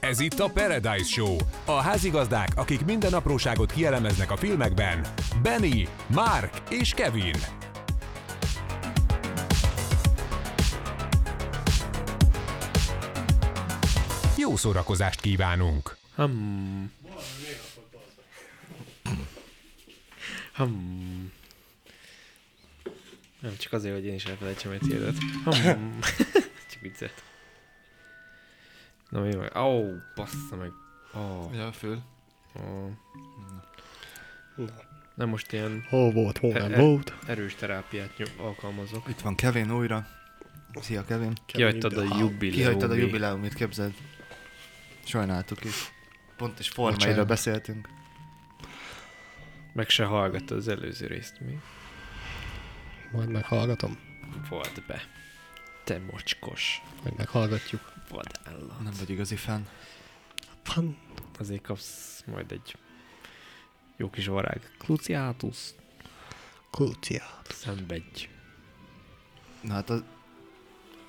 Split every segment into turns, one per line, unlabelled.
Ez itt a Paradise Show. A házigazdák, akik minden apróságot kielemeznek a filmekben. Benny, Mark és Kevin. Jó szórakozást kívánunk!
Hmm. Hmm. Nem csak azért, hogy én is elfelejtsem egy tiédet. Hmm. csak viccet. Na mi van? Ó, oh, bassza meg. Oh,
Ja, föl.
oh. Nem most ilyen
Hol volt, hol nem
E- e-
volt.
erős terápiát nyom, alkalmazok.
Itt van Kevin újra. Szia Kevin.
Kihagytad a jubileumi.
Kihagytad a jubileumit, képzeld. Sajnáltuk is. Pont is formáiról
Bocsánat.
beszéltünk.
Meg se hallgattad az előző részt, mi?
Majd meghallgatom,
Volt be. Te mocskos.
meg meghallgatjuk.
Vadállat.
Nem vagy igazi fan.
Fan,
Azért kapsz majd egy jó kis varág. Cruciatus.
kulcia.
Szenvedj.
Na hát a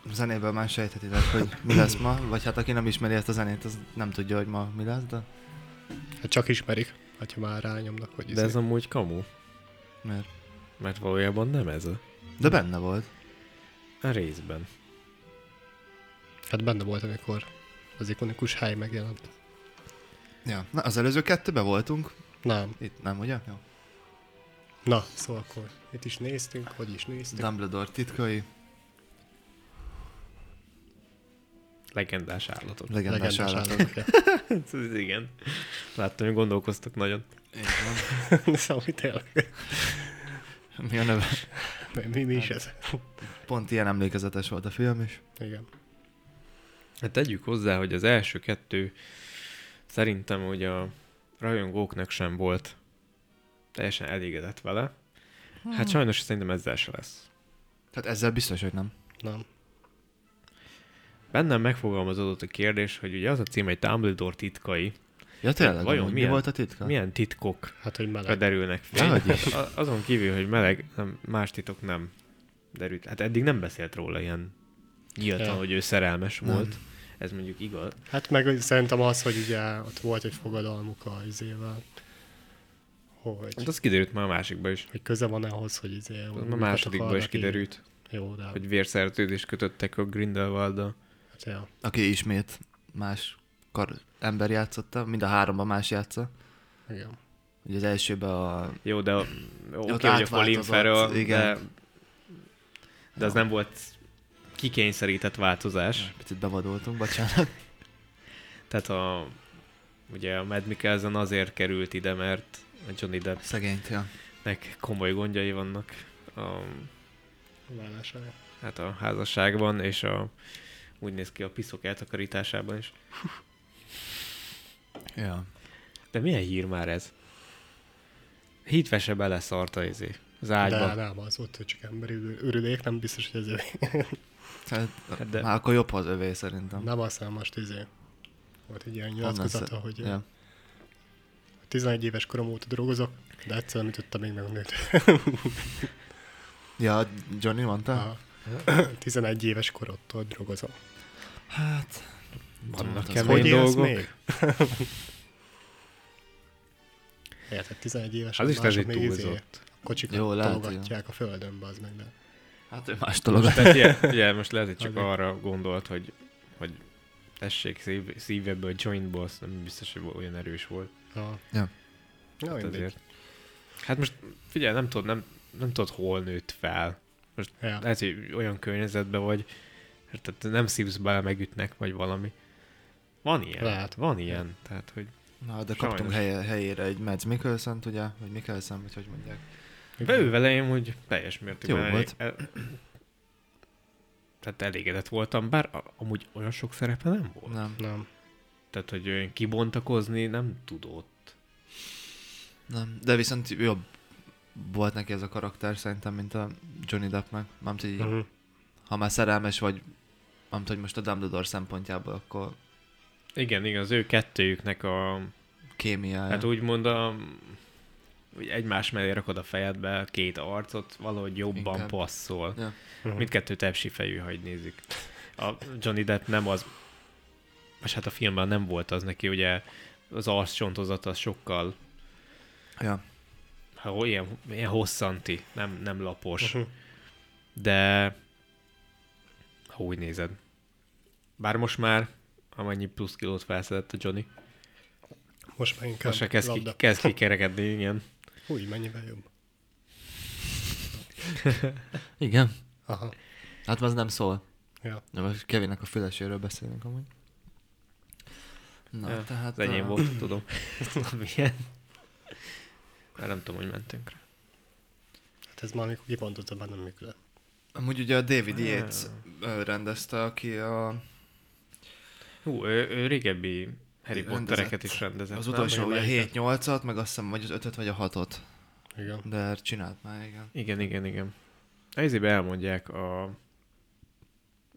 a zenéből már sejthetitek, hogy mi lesz ma, vagy hát aki nem ismeri ezt a zenét, az nem tudja, hogy ma mi lesz, de
Hát csak ismerik, ha már rányomnak, hogy izé-
De ez amúgy kamu,
mert...
mert valójában nem ez a,
De benne volt.
a részben.
Hát benne volt, amikor az ikonikus hely megjelent.
Ja. Na, az előző kettőben voltunk.
Nem.
Itt nem, ugye? Jó.
Na, szóval akkor itt is néztünk, hogy is néztünk.
Dumbledore titkai,
Legendás állatot.
legendás állat.
állatok.
Ez igen. Láttam, hogy gondolkoztak nagyon.
Így van.
szóval hogy tényleg,
Mi a neve?
mi, mi
Hát.
is ez?
Pont ilyen emlékezetes volt a film is.
Igen.
Hát tegyük hozzá, hogy az első kettő szerintem hogy a rajongóknak sem volt teljesen elégedett vele. Hát sajnos szerintem ezzel se lesz.
Hát ezzel biztos, hogy nem.
Nem.
Bennem megfogalmazódott a kérdés, hogy ugye az a cím, egy Dumbledore titkai,
Ja tényleg,
vajon
amúgy mi
milyen-
volt a titka?
milyen titkok
Hát, hogy
Ha
meleg.
derülnek fény.
Dehogy
Hát a- azon kívül, hogy meleg, nem, más titok nem derült. Hát eddig nem beszélt róla ilyen nyíltan,
Ja.
hogy ő szerelmes nem. volt. Ez mondjuk igaz.
Hát meg szerintem az, hogy ugye ott volt egy fogadalmuk a izével,
Hát
hogy,
az kiderült már a másikban is.
hogy köze van ahhoz, hogy izé...
Az már
miket
másodikban is
akarnak így.
kiderült,
Jó, de
hogy vérszerződést kötöttek a Grindelwald-dal.
hát, ja.
Aki ismét más kar ember játszotta, mind a háromban más játsza.
Igen.
Ugye az elsőben a...
Jó, de a- jó, oké,
Ott
okay, hogy a Colin
átváltozott,
Farrell, de,
igen.
de az nem volt kikényszerített változás.
Picit bevadoltunk, bocsánat.
Tehát a, ugye a Mad Mikkelsen azért került ide, mert a Johnny Depp
Szegényt, ja.
nek komoly gondjai vannak a,
Vállására.
hát a házasságban, és a, úgy néz ki a piszok eltakarításában is.
ja.
De milyen hír már ez? Hitve se beleszart a izé, az ágyba.
De nem, az volt, hogy csak emberi ürü- ürülék, nem biztos, hogy ez övé.
Tehát,
Hát de-
de... Már akkor jobb az övé szerintem.
Nem aztán most izé. Volt egy ilyen
Onnan
nyilatkozata,
sze-
hogy
Ja.
11 éves korom óta drogozok, de egyszer nem ütöttem még meg a nőt.
ja, Johnny mondta?
Aha. 11 éves korodtól drogozom.
Hát...
Vannak
Az
kemény
Hogy élsz
dolgok.
még? Érted, 11 éves
Az is
mások
lehet,
még
hogy
izé,
túlzott.
kocsikat
Jó,
Jó,
lehet,
tologatják a földön, bazd meg. De.
Hát ő más dolog.
Tehát ilyen, ilyen, most lehet, hogy csak
Azért.
arra gondolt, hogy, hogy tessék szív, szívebből joint boss, nem biztos, hogy olyan erős volt.
Ja.
Ja.
Na,
Hát,
mindegy.
azért. hát most figyelj, nem tudod, nem, nem tudod, hol nőtt fel.
Ja.
Lehet, hogy olyan környezetben vagy, tehát nem szívsz bele, megütnek, vagy valami. Van ilyen.
Lehet.
Van ilyen. Tehát, hogy
Na, de kaptunk
Sajnos.
helye, helyére egy Mads mikkelsen ugye? Vagy Mikkelsen, vagy hogy mondják.
beővelejém, hogy teljes mértékben
Jó
elég-
volt.
El, tehát elégedett voltam, bár a- amúgy olyan sok szerepe nem volt.
Nem,
Nem.
Tehát, hogy olyan kibontakozni nem tudott.
nem. De viszont jobb volt neki ez a karakter szerintem, mint a Johnny Deppnek. Mármint, hogy
Mhm.
ha már szerelmes vagy, amit hogy most a Dumbledore szempontjából, akkor
Igen, igen, az ő kettőjüknek a...
kémiája.
Hát úgymond a... Úgy egymás mellé rakod a fejedbe a két arcot, valahogy jobban
Inkább.
passzol.
Ja.
Mhm.
Mindkettő tepsi fejű, ha így nézik. A Johnny Depp nem az és hát a filmben nem volt az neki, ugye az arccsontozata az sokkal
Ja.
ha ho- ilyen, ilyen hosszanti, nem, nem lapos. De ha úgy nézed. Bár most már amennyi plusz kilót felszedett a Johnny.
Most már inkább
Most már kezd, ki,
labda.
kezd kikerekedni, igen.
Húj, mennyivel jobb.
Igen.
Aha.
Hát az nem szól.
Ja.
De most Kevinnek a füleséről beszélünk amúgy. Na,
Ja,
ja, tehát...
Az enyém
a-
volt, tudom. tudom, milyen. Már nem tudom, hogy mentünk rá.
Hát ez már amikor kipontottam, már nem működött.
Amúgy ugye a David
Ah.
Yates ö, rendezte, aki a,
Hú, ő, ő régebbi Harry
Rendezett.
Pottereket is rendezett.
az
nem?
utolsó,
vagy
ugye a
melyiket?
7-8-at, meg azt hiszem, vagy az 5-öt, vagy a 6-ot.
Igen.
De csinált már, igen.
Igen, igen, igen. Ezébe elmondják a...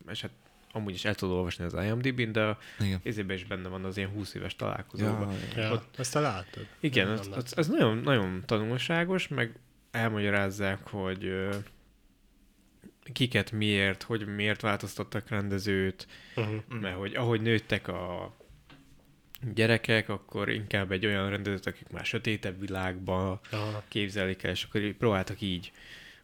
És hát amúgy is el tudod olvasni az IMDb-n, de a
Igen.
Ezében is benne van az ilyen 20 éves találkozóban.
Ja,
Ja,
Ja,
Ott-
azt te látod.
Igen,
Nem,
az,
nem
az, az nagyon, nagyon tanulságos, meg elmagyarázzák, hogy ö, kiket miért, hogy miért változtattak rendezőt,
látod. Mhm.
mert hogy ahogy nőttek a gyerekek, akkor inkább egy olyan rendezőt, akik már sötétebb világban
Aha.
képzelik el, és akkor így próbáltak így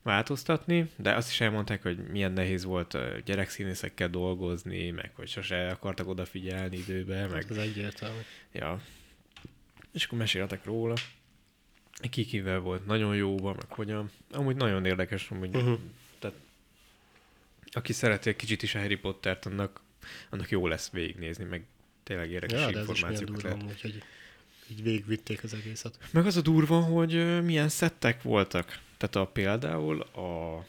változtatni, de azt is elmondták, hogy milyen nehéz volt ö, gyerekszínészekkel dolgozni, meg hogy sose akartak odafigyelni időbe, meg
Hát Ez egyértelmű.
Ja. És akkor meséltek róla. Kikivel volt nagyon jóban, meg hogyan. Amúgy nagyon érdekes, amúgy.
Mhm.
Uh-huh. Tehát, aki szereti egy kicsit is a Harry Pottert, annak, annak jó lesz végignézni, meg tényleg érdekes
Ja,
ja,
de ez is milyen
információkat
durva
lehet.
amúgy, hogy így végigvitték az egészet.
Meg az a durva, hogy ö, milyen szettek voltak. Tehát a, például a,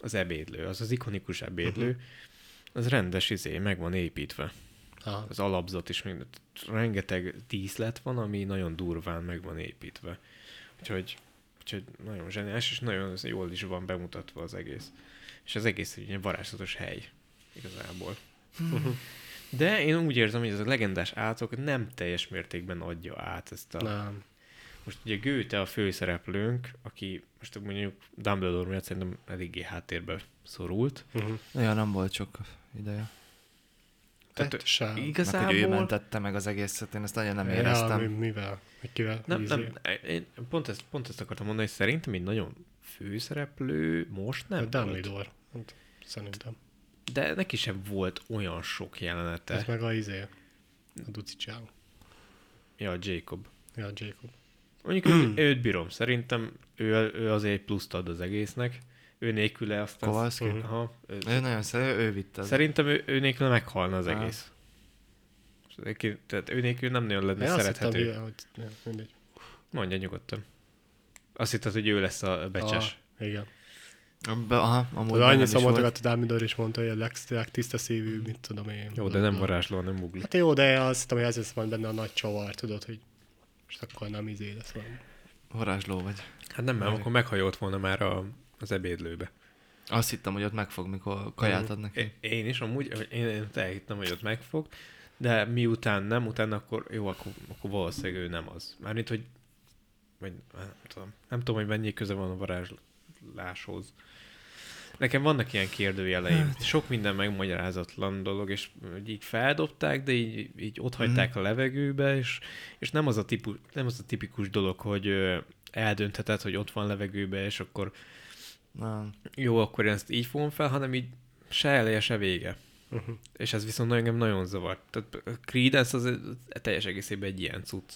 az ebédlő, az az ikonikus
Mhm.
ebédlő, uh-huh. az rendes izé, meg van építve.
Aha.
az alapzat is, meg rengeteg díszlet van, ami nagyon durván meg van építve. Úgyhogy, úgyhogy nagyon zseniális, és nagyon jól is van bemutatva az egész. És az egész egy ilyen varázslatos hely, igazából. De én úgy érzem, hogy ez a legendás átok nem teljes mértékben adja át ezt a...
Nem.
Most ugye Gőte a főszereplőnk, aki most mondjuk Dumbledore miatt szerintem eléggé háttérbe szorult.
Mhm.
ja, nem volt sok ideje.
Tehát
Hát sem.
Meg, hogy ő
Igazából
mentette meg az egészet, én ezt nagyon nem
Ja, mi,
éreztem.
mivel? Hogy kivel?
Nem,
Izé.
nem, én pont ezt, pont ezt akartam mondani, hogy szerintem egy nagyon főszereplő most
A
nem volt.
Dumbledore. Hát, Szerintem.
De neki sem volt olyan sok
Ez
jelenete.
meg a izé. A Duci Csáó.
Ja, Jacob.
Ja, Jacob.
Mondjuk őt, őt bírom, szerintem ő, ő azért egy pluszt ad az egésznek. Ő nélküle aztán...
Kowalski?
Aha, ő,
Ő nagyon szeret, ő vitte. az-
szerintem ő, ő nélküle meghalna az
Á.
egész. És neki- Tehát ő nélkül nem nagyon lenne
Én azt hittem,
szerethető.
mivel, hogy ja, mindegy.
Mondja nyugodtan. Azt hittad, hogy ő lesz a becses.
Ah, igen.
Be, aha, amúgy
Az
nem
annyi
is volt.
szamotokat a Dumbledore is mondta, hogy a legszilárd, tiszta szívű, mit tudom én.
Jó, de nem varázsló, nem ugli.
Hát jó, de azt hittem, hogy ezért van benne a nagy csavar, tudod, hogy most akkor nem izé lesz valami.
Varázsló vagy.
Hát nem, mert akkor meghajolt volna már a, az ebédlőbe.
Azt hittem, hogy ott megfog, mikor kaját ad neki.
Mhm. É- Én is amúgy, hogy én, én elhittem, hogy ott megfog, de miután nem, utána akkor jó, akkor, akkor valószínűleg ő nem az. Mármint, hogy vagy, hát nem tudom, nem tudom, hogy mennyi köze van a varázsláshoz. Nekem vannak ilyen kérdőjeleim. Sok minden megmagyarázatlan dolog, és hogy így feldobták, de így, így ott hagyták a levegőbe, és, és nem, az a tipu, nem az a tipikus dolog, hogy ö, eldöntheted, hogy ott van levegőbe, és akkor
Nem.
jó, akkor én ezt így fogom fel, hanem így se eleje, se vége.
Mhm.
Uh-huh. És ez viszont nagyon, engem nagyon zavar. Tehát a Creedence az teljes egészében egy ilyen cucc.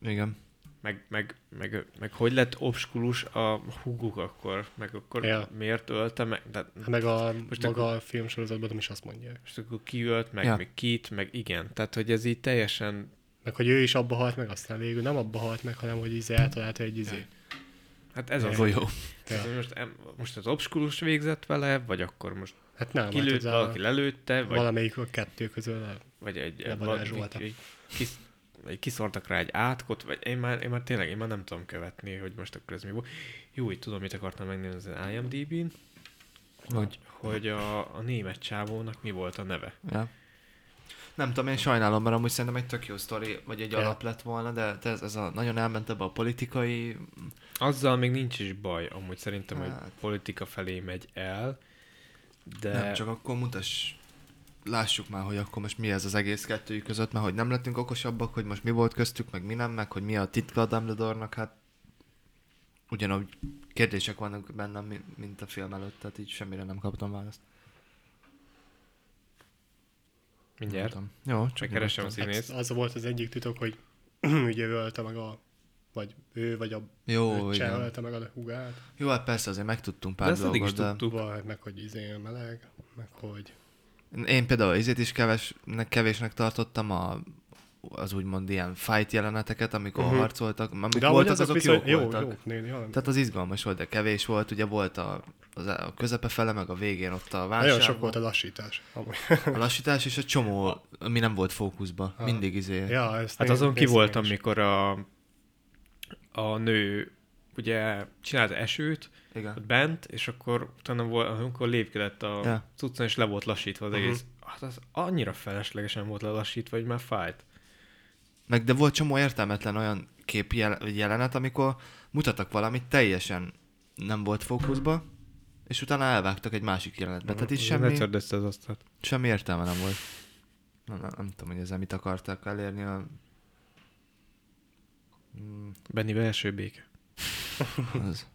Igen.
Meg, meg, meg, meg hogy lett obskulus a húguk akkor, meg akkor
Ja.
yeah. miért ölte meg, tehát
Hát meg a
Most
Most maga a filmsorozatban nem is azt mondja.
most akkor kiölt, meg,
Ja.
yeah. meg kit, meg igen. Tehát, hogy ez így teljesen,
Meg hogy ő is abba halt meg, aztán végül nem abba halt meg, hanem hogy izé eltalálta egy izé.
hát ez az.
Jó, jó.
Tehát, hogy most, em- most az obskulus végzett vele, vagy akkor most
Hát nem, hát
kilőtt,
ez a-
valaki lelőtte, vagy
valamelyik a kettő közül. a- hát
vagy egy, egy,
Levarázsolta.
egy, egy, kis, egy kiszortak rá egy átkot, vagy én már, én már tényleg, én már nem tudom követni, hogy most akkor ez mi volt. Jó, így tudom, mit akartam megnézni az IMDb-n,
Vagy.
hogy a, a német csávónak mi volt a neve.
Ja. Nem tudom, én sajnálom, mert amúgy szerintem egy tök jó sztori, vagy egy
Ja.
alap lett volna, de ez, ez a, nagyon elment ebbe a politikai...
Azzal még nincs is baj, amúgy szerintem, hogy
Hát.
politika felé megy el, de
De... Nem, csak akkor mutass lássuk már, hogy akkor most mi ez az egész kettőjük között, mert hogy nem lettünk okosabbak, hogy most mi volt köztük, meg mi nem, meg hogy mi a titka a Dumbledore-nak, hát ugyanúgy kérdések vannak bennem, mi- mint a film előtt, tehát így semmire nem kaptam választ.
Mindjárt.
Nem tudom. Jó, csak
Megkeresem a
nyugodtan.
színész.
Hát az volt az egyik titok, hogy ugye ő ölte meg a... Vagy ő, vagy a
Jó,
cseh
igen.
ölte meg a húgát.
Jó, hát persze azért megtudtunk
De
pár
ezt eddig is
dolgot, de
tudtuk.
Vagy meg, hogy izé meleg, meg hogy...
én például izét is keves, ne- kevésnek tartottam a az úgymond ilyen fight jeleneteket, amikor
Mhm.
uh-huh. harcoltak, amik
De
de
amúgy
voltak, azok,
viszont-
jók jó, voltak.
Jók, néni, jó,
Tehát az izgalmas volt, de kevés volt, ugye volt a, az, a közepe fele, meg a végén ott a válság.
Nagyon sok volt a lassítás. Amúgy.
A lassítás és a csomó, ami nem volt fókuszba.
Ah.
Mindig izé.
Ja, ezt
Hát
néz-
azon ki
néztem
voltam,
én is.
mikor a, a nő ugye csinált esőt ott
Igen.
bent, és akkor utána volt, amikor lépkedett a yeah.
Ja.
cuccon, és le volt lassítva az
Mhm.
egész. Hát az annyira feleslegesen volt lelassítva, hogy már fájt.
Meg de volt csomó értelmetlen olyan kép jel- vagy jelenet, amikor mutattak valamit teljesen nem volt fókuszba, és utána elvágtak egy másik jelenetbe. Tehát
Mm,
itt
Ne
semmi,
törd össze az asztalt.
semmi értelme nem volt. Nem, nem, nem tudom, hogy ezzel mit akarták elérni. A... Mm,
Benni belső béke.
Az.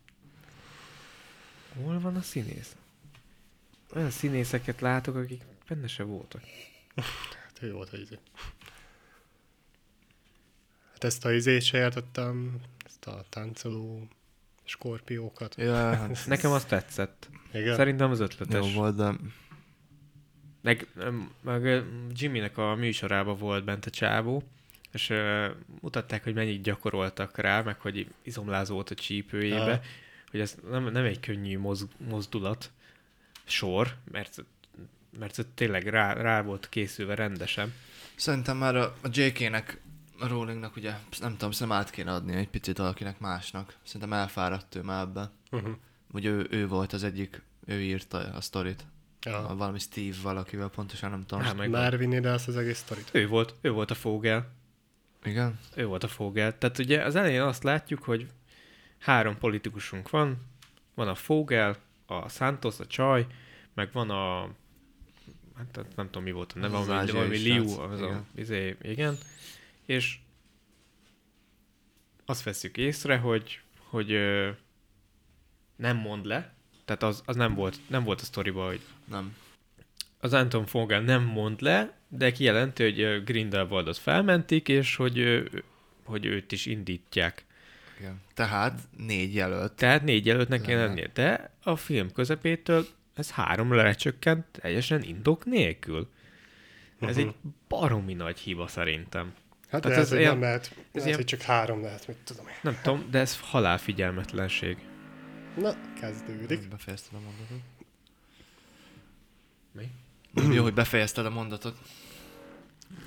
Hol van a színész? Olyan színészeket látok, akik benne se voltak.
Hát jó volt a izé. Hát ezt a izét se értettem, ezt a táncoló skorpiókat.
Ja, hát
Nekem az tetszett.
Igen.
Szerintem az
jó
ötletes.
volt, de
Meg, meg ö, Jimmynek a műsorában volt bent a csávó, és uh, mutatták, hogy mennyit gyakoroltak rá, meg hogy izomlázó volt a csípőjébe,
Aha.
hogy ez nem, nem egy könnyű moz, mozdulat, sor, mert, mert ez tényleg rá, rá volt készülve rendesen.
Szerintem már a, a JK-nek, a Rowlingnek ugye, nem tudom, szerintem át kéne adni egy picit valakinek másnak. Szerintem elfáradt ő már ebbe.
Uh-huh.
Ugye ő, ő volt az egyik, ő írta a sztorit. A
Ja.
valami Steve valakivel, pontosan nem tudom.
Rá meg
Már vinni ide azt az egész sztorit.
Ő volt, ő volt a fogel.
Igen?
Ő volt a Fogel. Tehát ugye az elején azt látjuk, hogy három politikusunk van. Van a Fogel, a Santos, a Csaj, meg van a... Hát hát nem tudom, mi volt a neve,
Az az
valami,
ázsiai
valami
srác.
Liu, az a,
Igen.
izé, igen. És azt veszük észre, hogy, hogy ö, nem mond le, tehát az, az nem, volt, nem volt a sztoriba, hogy
Nem.
az Anton Fogel nem mond le, de kijelenti, hogy ö, Grindelwaldot felmentik, és hogy, ö, hogy őt is indítják.
Igen. Tehát négy jelölt.
Tehát négy előttnek kell
Lenne.
lennie, de a film közepétől ez három lecsökkent teljesen indok nélkül. Ez egy baromi nagy hiba szerintem.
Mhm.
Tehát
Hát Tehát ez,
ez
hogy
ilyen-
nem lehet, ez lehet
ilyen-
hogy csak három lehet, mit tudom én.
Nem tudom, de ez halálfigyelmetlenség.
Na, kezdődik.
Befejezted a mondatot.
Mi?
Jó, hogy befejezted a mondatot.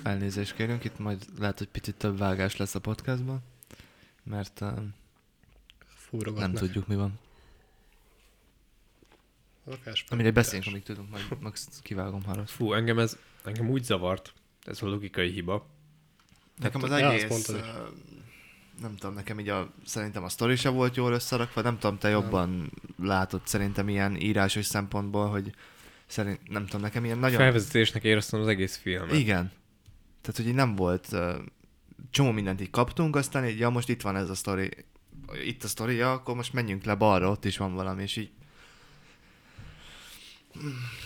Elnézést kérünk, itt majd lehet, hogy picit több vágás lesz a podcastban, mert uh,
Fúrogatnak.
nem tudjuk mi van. Amire
Amire
beszélünk, amíg tudunk, majd max kivágom, ha rossz.
Fú, engem ez engem úgy zavart, ez a logikai hiba.
Nekem az
Hát, Ja, azt
egész,
mondtad is.
ö, nem tudom, nekem így a, szerintem a sztori se volt jól összerakva, nem tudom, te jobban látod szerintem ilyen írásos szempontból, hogy szerint, nem tudom, nekem ilyen nagyon...
Felvezetésnek éreztem az egész filmet.
Igen. Tehát, hogy így nem volt, ö, csomó mindent így kaptunk, aztán így, ja, most itt van ez a sztori, itt a sztori, ja, akkor most menjünk le balra, ott is van valami, és így,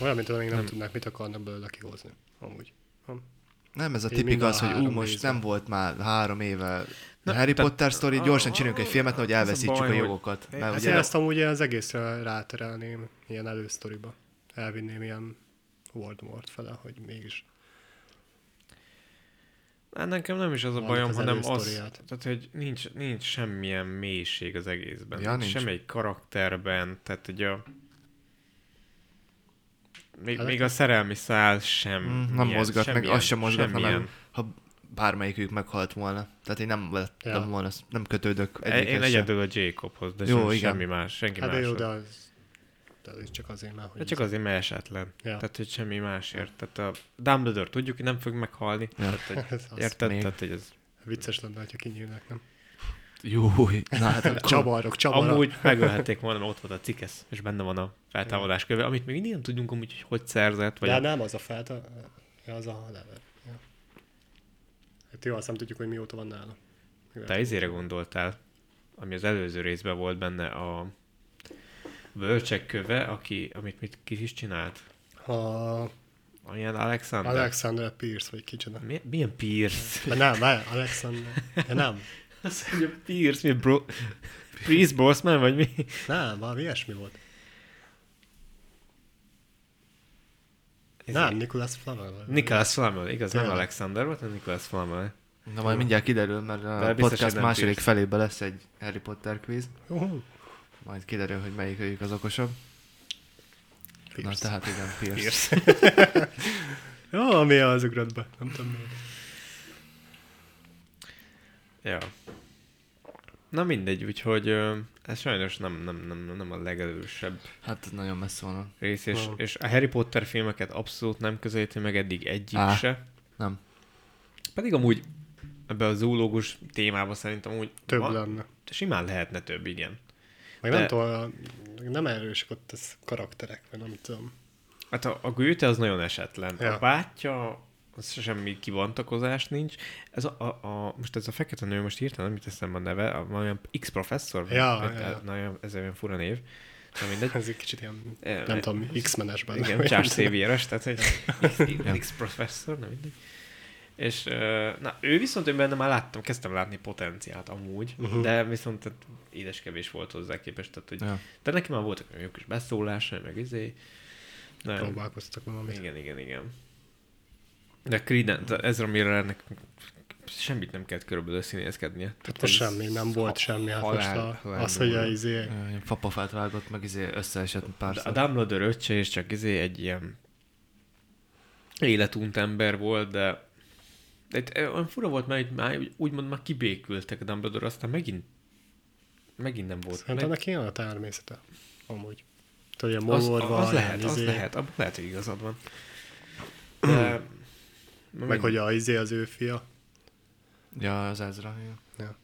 Olyan, mint amíg nem, nem tudnák, mit akarnak belőle kihozni. Amúgy. Nem?
nem ez a
Így
tipik
mind a
az, hogy ú,
három
most
nézve.
nem volt már három éve
Na,
Harry
tehát-
Potter sztori, gyorsan csináljunk egy filmet, hogy
az a
elveszítsük
baj,
a
hogy-
jogokat. Mert
Hát
ugye
én ezt amúgy az egészre ráterelném, ilyen elősztoriba. Elvinném ilyen Voldemort fele, hogy mégis.
Hát nekem nem is az a
Annak
bajom,
az
hanem az,
elősztoriát.
tehát, hogy nincs, nincs semmilyen mélység az egészben.
Ja, nincs.
Semmelyik karakterben, tehát hogy a... Még,
Hát
még a szerelmi szál sem.
Mm, nem
Mm-hmm. ilyen,
mozgat meg,
semmilyen-
az sem mozgat, hanem
semmilyen.
ha bármelyikük meghalt volna. Tehát én nem lettem
Ja.
volna, nem kötődök
E, Én
egyikhez sem.
egyedül a Jacobhoz, de
Jó,
sem,
igen.
semmi más, senki
Hát de
más.
jó, de az, de az csak azért már, hogy...
csak azért, mert esetlen.
Ja.
Tehát, hogy semmi másért. Tehát a Dumbledore tudjuk, hogy nem fog meghalni.
Ja.
Tehát, hogy,
Ez az.
érted?
még.
Tehát, hogy ez
Vicces lenne, ha kinyílnak, nem?
Jó, na hát akkor...
Csavarok, csavarok.
Amúgy megölhették volna, mert ott volt a cikesz, és benne van a feltávolás köve, amit még mindig nem tudjunk amúgy, hogy hogy szerzett, vagy
De
a
nem az a felt, a- ja, az a level. Ja. Hát jó, azt nem tudjuk, hogy mióta van nála. Mivel-
te izére gondoltál, ami az előző részben volt benne a bölcsek köve, aki, amit mit ki is csinált.
A
Olyan Alexander.
Alexander Pierce, vagy kicsoda.
Mi, milyen Pierce?
De nem, várj, Alexander. De nem,
Azt mondja, Pierce, mi bro... Pierce Brosnan, vagy mi?
nem, valami ilyesmi volt. nem, Nicholas Flamel.
Nicholas Flamel, igaz, nem
Tényleg.
Alexander volt, hanem Nicholas Flamel.
Na majd mindjárt kiderül, mert
De
a
biztos, hogy
podcast
nem
második
Pierce.
felében lesz egy Harry Potter quiz.
Uh,
Majd kiderül, hogy melyik őjük az okosabb. Na
Pierce.
tehát igen, Pierce. Pierce.
Jó, ami az ugrott be. Nem tudom miért.
Ja. Na mindegy, úgyhogy ö, ez sajnos nem, nem, nem, nem a legelősebb
Hát nagyon messze van. a-
rész, és,
Wow.
és a Harry Potter filmeket abszolút nem közelíti meg eddig egyik
Á.
se.
Nem.
Pedig amúgy ebbe a zoológus témába szerintem úgy
Több lenne.
simán lehetne több, igen.
Meg
De-
nem tudom, a- nem erősek ott ez karakterek, vagy nem tudom.
Hát a, a Goethe az nagyon esetlen. Ja.
Ja.
A bátyja, az se- semmi kibontakozás nincs. Ez a, a, a, most ez a fekete nő, most hirtelen nem jut eszembe a neve, a, olyan X professzor. vagy-
Ja,
vagy-
ja.
Na, olyan- ez olyan fura név. Na mindegy.
Ez egy kicsit ilyen,
Eh,
nem tudom, X-menes benne.
Igen,
vagy nem
Charles
tudom.
Xavier-es, tehát egy
Ja.
X professzor, nem mindegy. És ö, na, ő viszont én benne már láttam, kezdtem látni potenciált amúgy, uh-huh. de viszont tehát, édes kevés volt hozzá képest, tehát hogy,
Ja.
de neki már voltak olyan jó kis beszólásai, meg izé. Na,
Próbálkoztak valamit.
igen, igen, igen. De Creedence, Ezra Millernek semmit nem kellett körülbelül színészkednie.
Hát
Tehát
most
ez
semmi, nem volt semmi. Hát most
halál-
a,
halál
az, hogy
durva.
a izé,
Ö, Fapafát vágott, meg izé összeesett
A
párszor.
Dumbledore öccse is csak izé egy ilyen életunt ember volt, de de itt olyan fura volt, mert itt már úgy- úgymond már kibékültek a Dumbledore, aztán megint megint nem volt.
Szerintem
Meg-
neki Hát ilyen a természete, amúgy. Tudod, ilyen
az,
mogorva,
az,
ilyen
lehet, az
izé, Hm.
lehet, abban lehet, hogy igazad van. De,
Meg hogy a izé az ő fia,
Ja, az Ezra. Ja.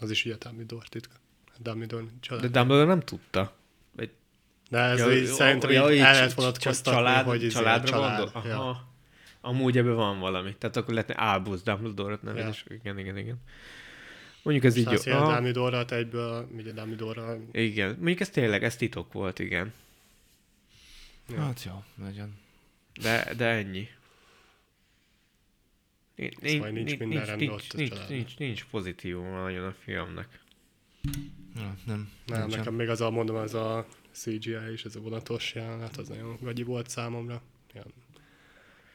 az is ugye Dumbledore titka. Dumbledore család.
de
De,
Dumbledore nem tudta.
de ez így, szerintem így el lehet vonatkoztatni, hogy izé
család,
család,
család,
család.
gondol?
Ja.
Aha. Amúgy ebben van valami. Tehát akkor lehetne Albus Dumbledore, nem?
Ja.
Ja. Igen, igen, igen. Mondjuk ez így
Így
jó. Ah,
jó.
Aha.
Dumbledore-ra, te egyből, ugye Dumbledore-ra,
Igen, mondjuk ez tényleg, ez titok volt, igen.
Ja.
Hát jó, nagyon.
De, de ennyi. Ni- ni-
Szóval nincs
ni-
minden
nincs,
rendben
nincs,
ott a
nincs,
családban.
nincs, nincs pozitívuma nagyon a filmnek.
Ja, nem.
nem,
nincsen.
nekem még az a, mondom, az a CGI és ez a vonatos jelenet, az nagyon gagyi volt számomra. Ilyen.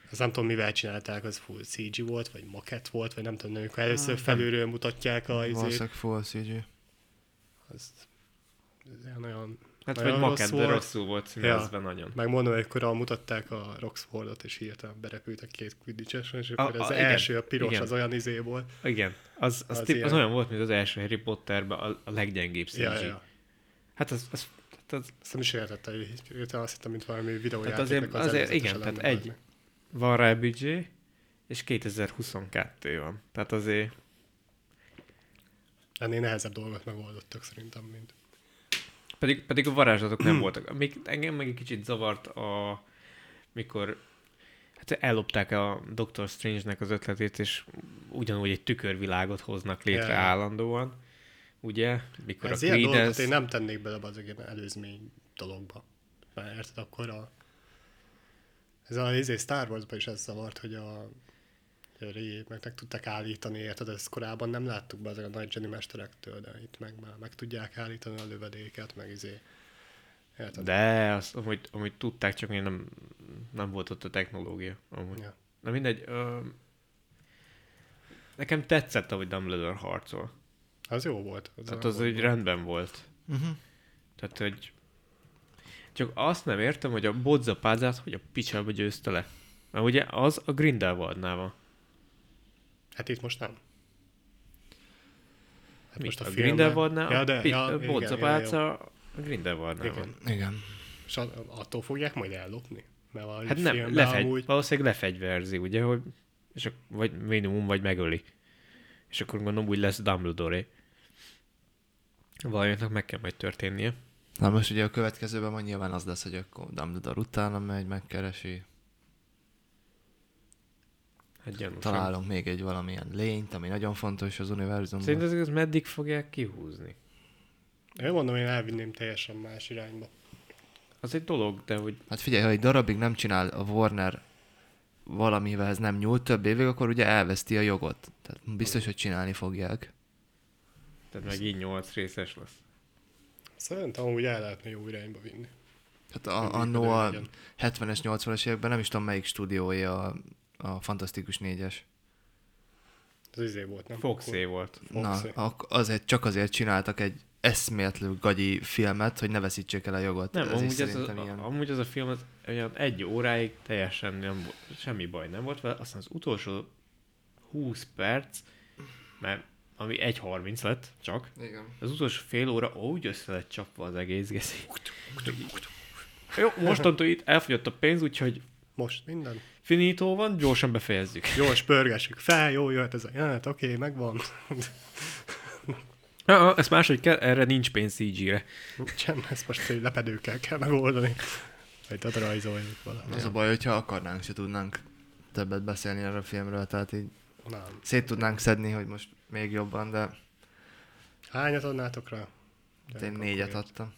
Azt nem tudom, mivel csinálták, az full CG volt, vagy makett volt, vagy nem tudom, amikor először felülről mutatják a izé- izét,
Valószínűleg full CG.
azt ez ilyen olyan...
Hát
Nagyon
vagy
rossz
makett, de
volt.
rosszul volt színezve nagyon.
Megmondom, hogy akkor a- mutatták a Roxfordot, és hirtelen berepültek két quidditches és
A-
akkor
a-
az
igen,
első, a piros,
igen.
az olyan izé volt.
Igen, az, az,
Az
az, tip, az
ilyen.
olyan volt, mint az első Harry Potterben a, a leggyengébb CG.
Ja, ja, ja.
Hát az, az, hát az hát
Azt nem is értette, hogy hirtelen azt hittem, mint valami videójátéknak
azért-
az
azért-
előzetese
igen, tehát
lenne
egy.
benne.
van rá büdzsé, és 2022 van. Tehát azért
Ennél nehezebb dolgot megoldottak szerintem, mint...
Pedig, pedig a varázslatok
Hmm.
nem voltak. Még, engem meg egy kicsit zavart a, mikor hát ellopták a Doctor Strange-nek az ötletét, és ugyanúgy egy tükörvilágot hoznak létre
Ja.
állandóan. Ugye? Mikor
Ez
a
ilyen dolgokat
Creedence...
én nem tennék bele az ilyen előzmény dologba. Mert érted, akkor a... Ez a izé Star Wars-ban is ez zavart, hogy a Ré, meg, meg tudták állítani, érted, ezt korábban nem láttuk be ezek a nagy Jenny mesterektől, de itt meg már meg tudják állítani a lövedéket, meg izé. Érted?
De, azt, amúgy, amúgy tudták, csak még nem, nem volt ott a technológia. Amúgy.
Ja.
Na mindegy. Ö, nekem tetszett, ahogy Dumbledore harcol.
Az jó volt. Az
Tehát
olyan
Hát az
volt.
úgy rendben volt.
Mhm.
Uh-huh.
Tehát, hogy csak azt nem értem, hogy a bodza pázát, hogy a picsába győzte le. Mert ugye az a Grindelwaldnál van.
Hát itt most nem. Hát
Most a, a
filmben-
Grindelwaldnál
ja, de,
pi-
ja,
a
igen,
bodza
igen, jó.
pálca a Grindelwaldnál
Igen.
van.
Igen.
És a- attól fogják majd ellopni? Mert a
Hát nem, lefegy, amúgy... valószínűleg lefegyverzi, ugye, hogy és ak- vagy minimum, vagy megöli. És akkor gondolom úgy lesz Dumbledore. Valaminek meg kell majd történnie.
Na most ugye a következőben majd nyilván az lesz, hogy akkor Dumbledore utána megy, megkeresi,
Hát gyanúsan.
találunk még egy valamilyen lényt, ami nagyon fontos az univerzumban.
Szerinted ez meddig fogják kihúzni?
Én mondom, én elvinném teljesen más irányba.
Az egy dolog, de hogy
Hát figyelj, ha egy darabig nem csinál a Warner valamivel ez nem nyúl több évig, akkor ugye elveszti a jogot. Tehát biztos, hogy csinálni fogják.
tehát meg így 8 részes lesz.
Szerintem úgy el lehetne jó irányba vinni.
Hát a, annó a 70-es, 80-as években nem is tudom melyik stúdiója a, a Fantasztikus négyes.
Ez izé volt, nem?
Foxé volt.
Na,
Foxy.
ak- azért, csak azért csináltak egy eszméletlenül gagyi filmet, hogy ne veszítsék el a jogot.
Nem,
Ez
amúgy
is
ez, az,
szerintem ilyen...
a, amúgy az a film az olyan egy óráig teljesen nem, vo- semmi baj nem volt vele, aztán az utolsó 20 perc, mert ami 1.30 lett csak,
Igen.
az utolsó fél óra úgy össze lett csapva az egész geszi. Jó, mostantól itt elfogyott a pénz, úgyhogy
Most minden.
finító van, gyorsan befejezzük.
Gyors pörgessük fel, jó, jöhet ez a jelenet, oké, megvan.
Ah, ah, ezt máshogy kell, erre nincs pénz CG-re.
Sem, ezt most egy lepedőkkel kell megoldani. Vagy tehát rajzoljuk valamit.
Az a baj, hogyha akarnánk, se tudnánk többet beszélni erről a filmről, tehát így
Nem.
szét tudnánk szedni, hogy most még jobban, de
Hányat adnátok rá?
hát én négyet adtam.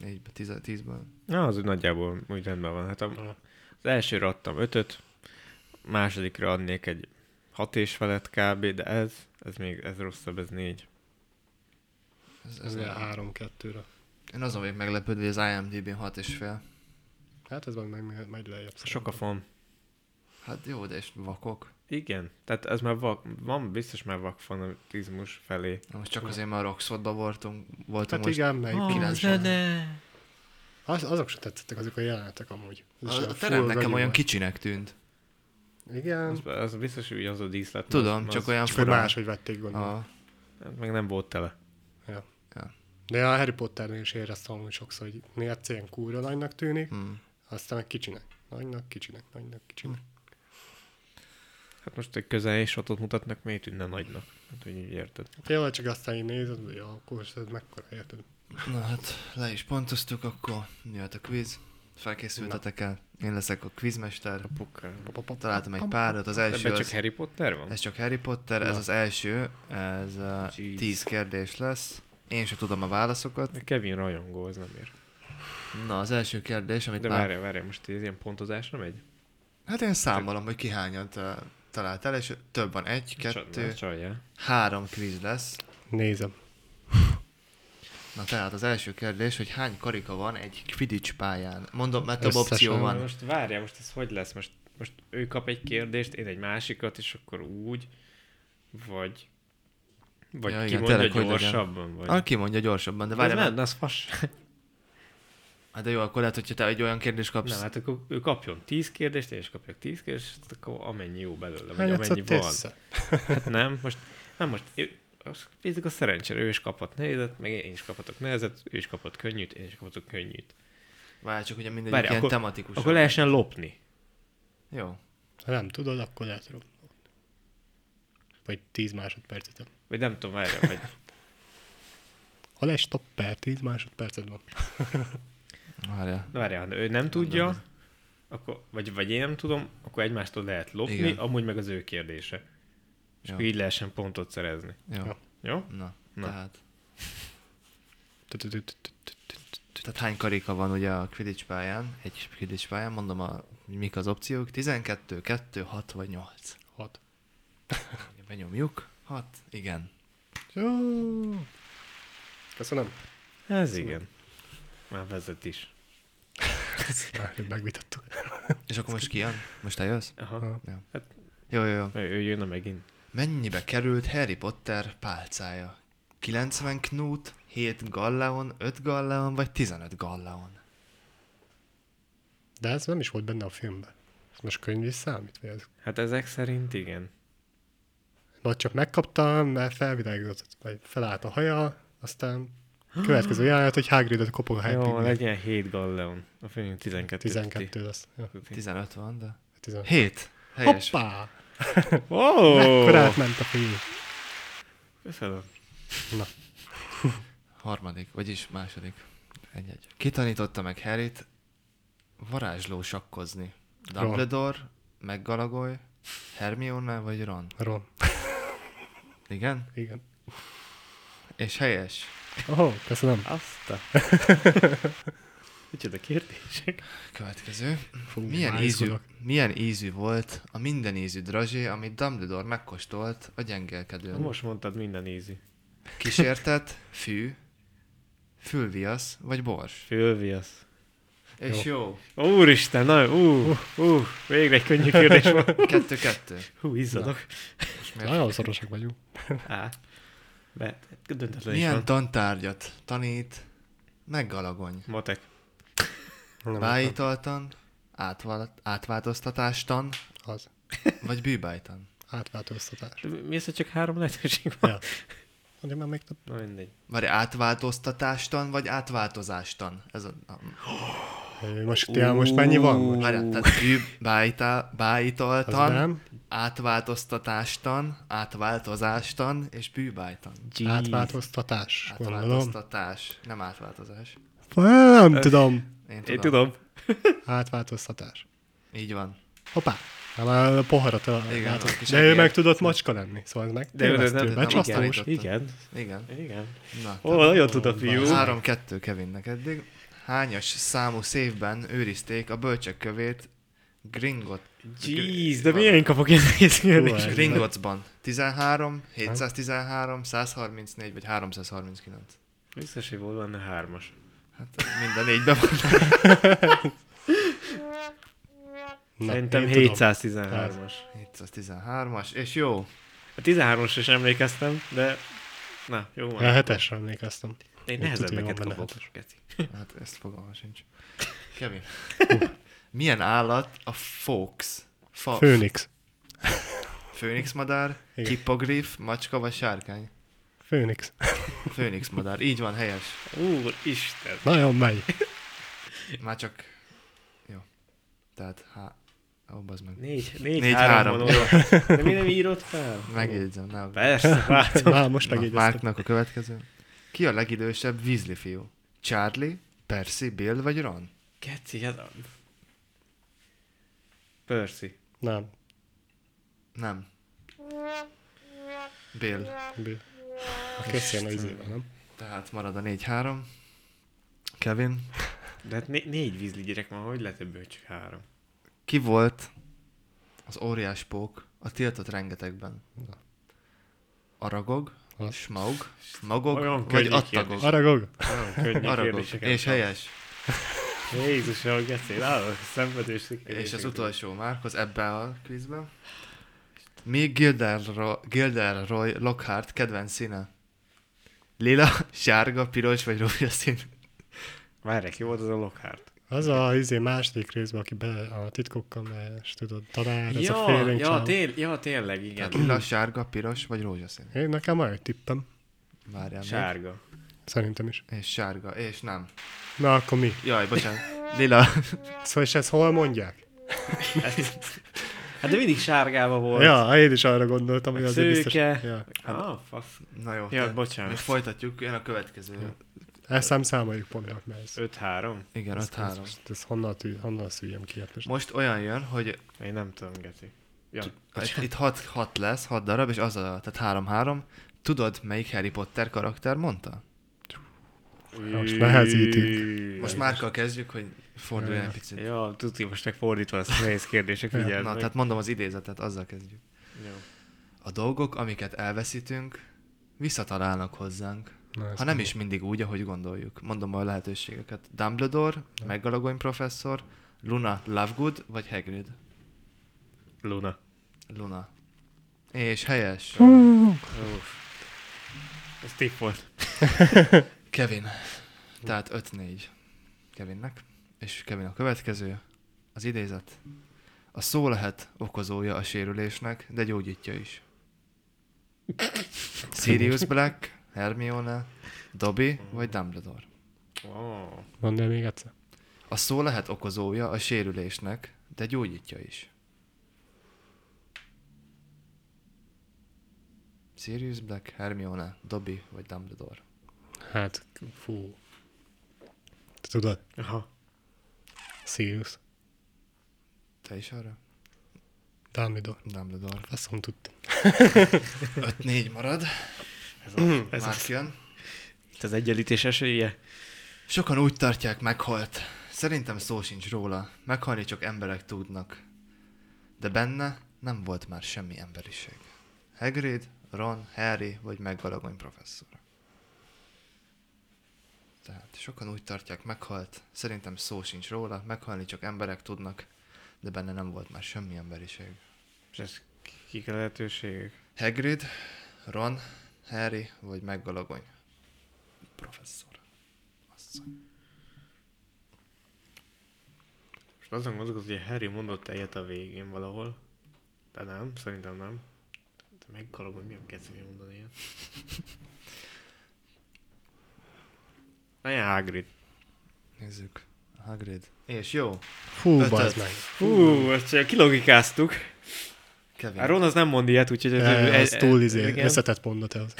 Négybe, tize, tízből.
Na, az úgy nagyjából úgy rendben van. Hát a,
Aha.
az elsőre adtam ötöt, másodikra adnék egy hat és felett kb, de ez, ez még, ez rosszabb, ez négy.
Ez, ez
Ez
nem-
a három-kettőre.
Én azon vagyok meglepődve, hogy az IMDb-n 6,5.
Hát ez majd meg majd lejjebb.
Sok a fon.
Hát jó, de és vakok.
Igen, tehát ez már vak, van biztos már vakfanatizmus felé.
Na most csak azért, mert a Roxfordba voltunk, voltunk
Hát
most.
igen, melyik
Ah,
oh,
kilenc zene.
az, azok se tetszettek, azok a jelenetek amúgy. Ez is
A, a
full
terem nekem
gagyi
olyan
volt.
kicsinek tűnt.
Igen,
Az, az biztos, hogy az a díszlet.
Tudom,
az, az, hát
csak olyan
csak hogy
furán.
máshogy vették gondolom.
A,
Meg nem volt tele.
Ja.
Ja.
De a Harry Potternél is éreztem amúgy sokszor, hogy néha cén kúra nagynak tűnik,
hmm.
aztán meg kicsinek. Nagynak, kicsinek, nagynak, kicsinek.
Hát most egy közel és ott mutatnak, miért tűnne nagynak? Hát, hogy így érted.
Tényleg csak aztán így nézed, hogy ja, akkor most ez mekkora érted.
Na hát, le is pontoztuk, akkor jöhet a quiz. Felkészültetek el. Én leszek a quizmester.
Pukkál.
Találtam egy párat, az első
Ebben csak
az,
Harry Potter van?
ez csak Harry Potter, ez
Na.
az első, ez a
Jeez.
10 kérdés lesz. Én sem tudom a válaszokat.
Kevin rajongó, az nem ér.
Na, az első kérdés, amit
De
már
várj, várj, most ez ilyen pontozásra megy?
Hát én számolom, hogy ki hányat ö, talált el, és több van egy, kettő,
Csalja.
három kvíz lesz.
Nézem.
Na tehát az első kérdés, hogy hány karika van egy Quidditch pályán? Mondom, mert több
Összesen
opció van.
Most várja, most ez hogy lesz? Most, most ő kap egy kérdést, én egy másikat, és akkor úgy, vagy... Vagy
Ja,
ja, ki
igen,
mondja
tényleg, hogy legyen.
gyorsabban, vagy...
Ah, ki mondja gyorsabban, de
De várj,
várjál,
nem,
mert...
az fas.
Hát de jó, akkor lehet, hogyha te egy olyan kérdést kapsz.
Nem, hát akkor ő kapjon 10 kérdést, én is kapjak 10 kérdést, és hát akkor amennyi jó belőle,
Hát,
vagy
Hányat
amennyi
szokt
szóval
van.
össze?
Hát nem, most, nem most, ő- azt bízok a szerencsére, ő is kaphat nehezet, meg én is kaphatok nehezet, ő is kaphat könnyűt, én is kaphatok könnyűt.
Várj, csak ugye mindegyik
Várj,
ilyen
akkor-
tematikus.
Akkor lehessen lopni.
Jó.
Ha nem tudod, akkor lehet rob- Vagy 10 másodpercet van.
Vagy nem tudom, várja, vagy...
Ha lesz stopper, 10 másodpercet van.
Várjál.
Na várjál, ha ő nem tudja, akkor, vagy, vagy én nem tudom, akkor egymástól lehet lopni,
Igen.
Igen. amúgy meg az ő kérdése. És
Jó.
akkor így lehessen pontot szerezni.
Jó.
Ja.
Jó?
Na,
Na.
tehát.
Tü-tü-tü-tü-tü-tü.
Tehát hány karika van ugye a Quidditch pályán? Egy Quidditch pályán, mondom, a, hogy mik az opciók. 12, 2, 6 vagy 8.
Hat.
Benyomjuk. 6, igen.
Jó. Köszönöm.
Ez igen. Már vezet is.
Már megvitattuk.
És akkor most ki jön? Most eljössz?
Aha.
Jó, jó, jó.
Ő, ő jönne megint.
Mennyibe került Harry Potter pálcája? 90 knút, 7 galleon, 5 galleon vagy 15 galleon?
De ez nem is volt benne a filmben. Ez most könyv is számít, vagy ez?
Hát ezek szerint igen.
Vagy csak megkaptam, mert felvilágított, vagy felállt a haja, aztán következő jelenet, hogy Hagridot kopog a
Jó,
hátulról.
legyen 7 galleon. A film 12.
12 lesz. Ja,
15 van, de...
16.
7! Helyes.
Hoppá!
Ó!
Mekkora átment a fény.
Köszönöm.
Na,
harmadik, vagyis második. Egy-egy. Ki tanította meg Harryt varázsló sakkozni?
Ron.
Dumbledore, meg Galagoy, Hermione vagy Ron?
Ron.
Igen?
Igen.
És helyes.
Oh, köszönöm.
Azt a... Micsoda kérdések.
Következő.
Fú,
Milyen ízű,
májszorok.
milyen ízű volt a minden ízű drazsé, amit Dumbledore megkóstolt a gyengelkedőn?
Most mondtad minden easy.
Kísértet, fű, fülviasz vagy bors?
Fülviasz.
És jó.
Úristen, na, ú, ú, végre egy könnyű kérdés volt.
Kettő-kettő.
Hú, izzadok.
És miért-
Nagyon szorosak vagyunk.
Á, be, döntetlen is
Milyen
van.
tantárgyat tanít meggalagony?
Matek.
Nem
Bájítaltan, átval- átváltoztatástan
Az.
vagy bűbájtan?
Átváltoztatás.
Mi az, hogy csak három lehetőség van?
Ja. De már még több.
Na mindegy.
Vagy átváltoztatástan vagy átváltozástan? Ez a, a
Ö, Most, ja, most mennyi van? Most?
Várjál, tehát bűbájtá-
Az
bájítaltan,
nem.
átváltoztatástan, átváltozástan és bűbájtan.
Átváltoztatás, gondolom.
Átváltoztatás, nem átváltozás.
Nem tudom.
Én tudom.
Én tudom.
Átváltoztatás.
Így van.
Hoppá. Na, Már a poharat
Igen,
látok.
a kis
De ő
egér.
meg tudott macska lenni, szóval ez meg
De ő nem-
tévesztő,
nem
becsasztós.
igen.
Igen.
Igen.
Igen.
Na,
Ó, nagyon tud a fiú.
3-2 Kevinnek eddig. Hányas számú szévben őrizték a bölcsek kövét Gringot?
Jeez, de milyen kapok ilyen nehéz kérdést?
Hú,
Gringottsban. 13, 713, 134 vagy 339.
Biztos, hogy volt benne hármas.
Hát mind a négyben van.
Na,
Szerintem
én tudom.
713-as.
Hát. 713-as, és jó.
A 13-as is emlékeztem, de... Na, jó van.
A hetesre emlékeztem.
Én
tudja,
nehezebbeket
van benne
kapok.
hatos.
Geci.
Hát ezt fogalma sincs. Kevin. Milyen állat a fox? Fa-
Főnix.
Főnix madár,
Igen.
hippogriff, macska vagy sárkány?
Főnix.
Főnix madár. Így van, helyes.
Úristen.
Nagyon megy.
Már csak... Jó. Tehát, há... Ó, bazd meg.
Négy, négy,
Négy,
négy
három.
három. van oda. De mi nem írod fel?
Megjegyzem, nem.
Persze, látom.
Már most
Na,
megjegyeztem.
Márknak a következő. Ki a legidősebb vízli fiú? Charlie, Percy, Bill vagy Ron?
Geci, hát... a- Percy.
Nem.
Nem. Bill.
Bill. A köszön a izével, nem?
Tehát marad a 4-3. Kevin.
De hát né- négy vízli gyerek van, hogy lehet ebből csak három?
Ki volt az óriás pók a tiltott rengetegben? Aragog,
Az.
Smaug, Magog
Olyan
vagy
könnyű
Attagog?
Aragog.
Nagyon könnyű
Aragog.
kérdéseket
És
kap.
helyes.
Jézus, ahogy Geci, állok, szenvedős
És az
kérdések.
utolsó Márkhoz ebben a quizben. Mi Gilderro- Gilderoy Lockhart kedvenc színe? Lila, sárga, piros vagy rózsaszín?
Várj, ki volt az a Lockhart?
Az a izé második részben, aki be a titkokkal mes, tudod, tanár, ez a
Ja,
félénk
ja,
ja,
tél, ja, tényleg,
Tehát
igen.
lila, sárga, piros vagy rózsaszín?
Én nekem van egy tippem,
Várjál még.
Sárga.
szerintem is.
És sárga, és nem.
Na, akkor mi?
Jaj, bocsánat. Lila.
Szóval és ezt hol mondják?
Hát de mindig sárgába volt.
Ja, én is arra gondoltam, hogy
Meg
azért biztos...
szőke.
Ja.
Ah, fasz.
Na jó.
Ja,
te-
bocsánat.
Most folytatjuk, jön a következő.
Ezt nem számoljuk pontnak, mert ez...
5-3?
Igen,
ez, ez,
5-3.
ez, ez honnan, tű, honnan szüljem ki? Hát most.
Most olyan jön, hogy
Én nem tudom, Geci. Ja.
itt- itt 6 lesz, 6 darab, és az a, tehát 3-3. Tudod, melyik Harry Potter karakter mondta?
Most nehezítik.
Most Márkkal kezdjük, hogy forduljon egy picit.
Ja, tudsz, most megfordítva ezt a nehéz kérdések,
Ja,
figyeld
Na,
meg.
tehát mondom az idézetet, azzal kezdjük.
Jó.
A dolgok, amiket elveszítünk, visszatalálnak hozzánk.
Na, ez
Ha nem is mindig úgy, ahogy gondoljuk. Mondom a lehetőségeket. Dumbledore, Megalagony professzor, Luna Lovegood vagy Hagrid?
Luna.
Luna. És helyes.
Uff. Ez tipp volt.
Kevin. Tehát 5-4 Kevinnek. És Kevin a következő. Az idézet. A szó lehet okozója a sérülésnek, de gyógyítja is. Sirius Black, Hermione, Dobby vagy Dumbledore.
Ó,
Mondd el még egyszer.
A szó lehet okozója a sérülésnek, de gyógyítja is. Sirius Black, Hermione, Dobby vagy Dumbledore.
Hát, fú. Te tudod,
Aha.
Sirius,
Te is arra?
Dumbledore.
Dumbledore.
Faszom tudtam.
5-4 marad.
Ez, a,
Ez
ez
Már
az,
jön.
az egyenlítés esélye.
Sokan úgy tartják, meghalt. Szerintem szó sincs róla. Meghalni csak emberek tudnak. De benne nem volt már semmi emberiség. Hagrid, Ron, Harry vagy meggalagony professzor. Tehát sokan úgy tartják, meghalt. Szerintem szó sincs róla. Meghalni csak emberek tudnak. De benne nem volt már semmi emberiség.
És ez kik a lehetőségek?
Hagrid, Ron, Harry vagy meggalagony professzor. Asszony.
Most azon mozgott, hogy a Harry mondott egyet a végén valahol. De nem, szerintem nem. De megkalom, hogy mi a kezdeni mondani ilyen. Nagyon Hagrid.
Nézzük. Hagrid. És jó.
Fú,
Ötöd.
bazd meg.
Hú, ezt csak kilogikáztuk.
Kevin.
A Ron az nem mond ilyet, úgyhogy...
E, Ez túl izé,
igen.
összetett mondat az.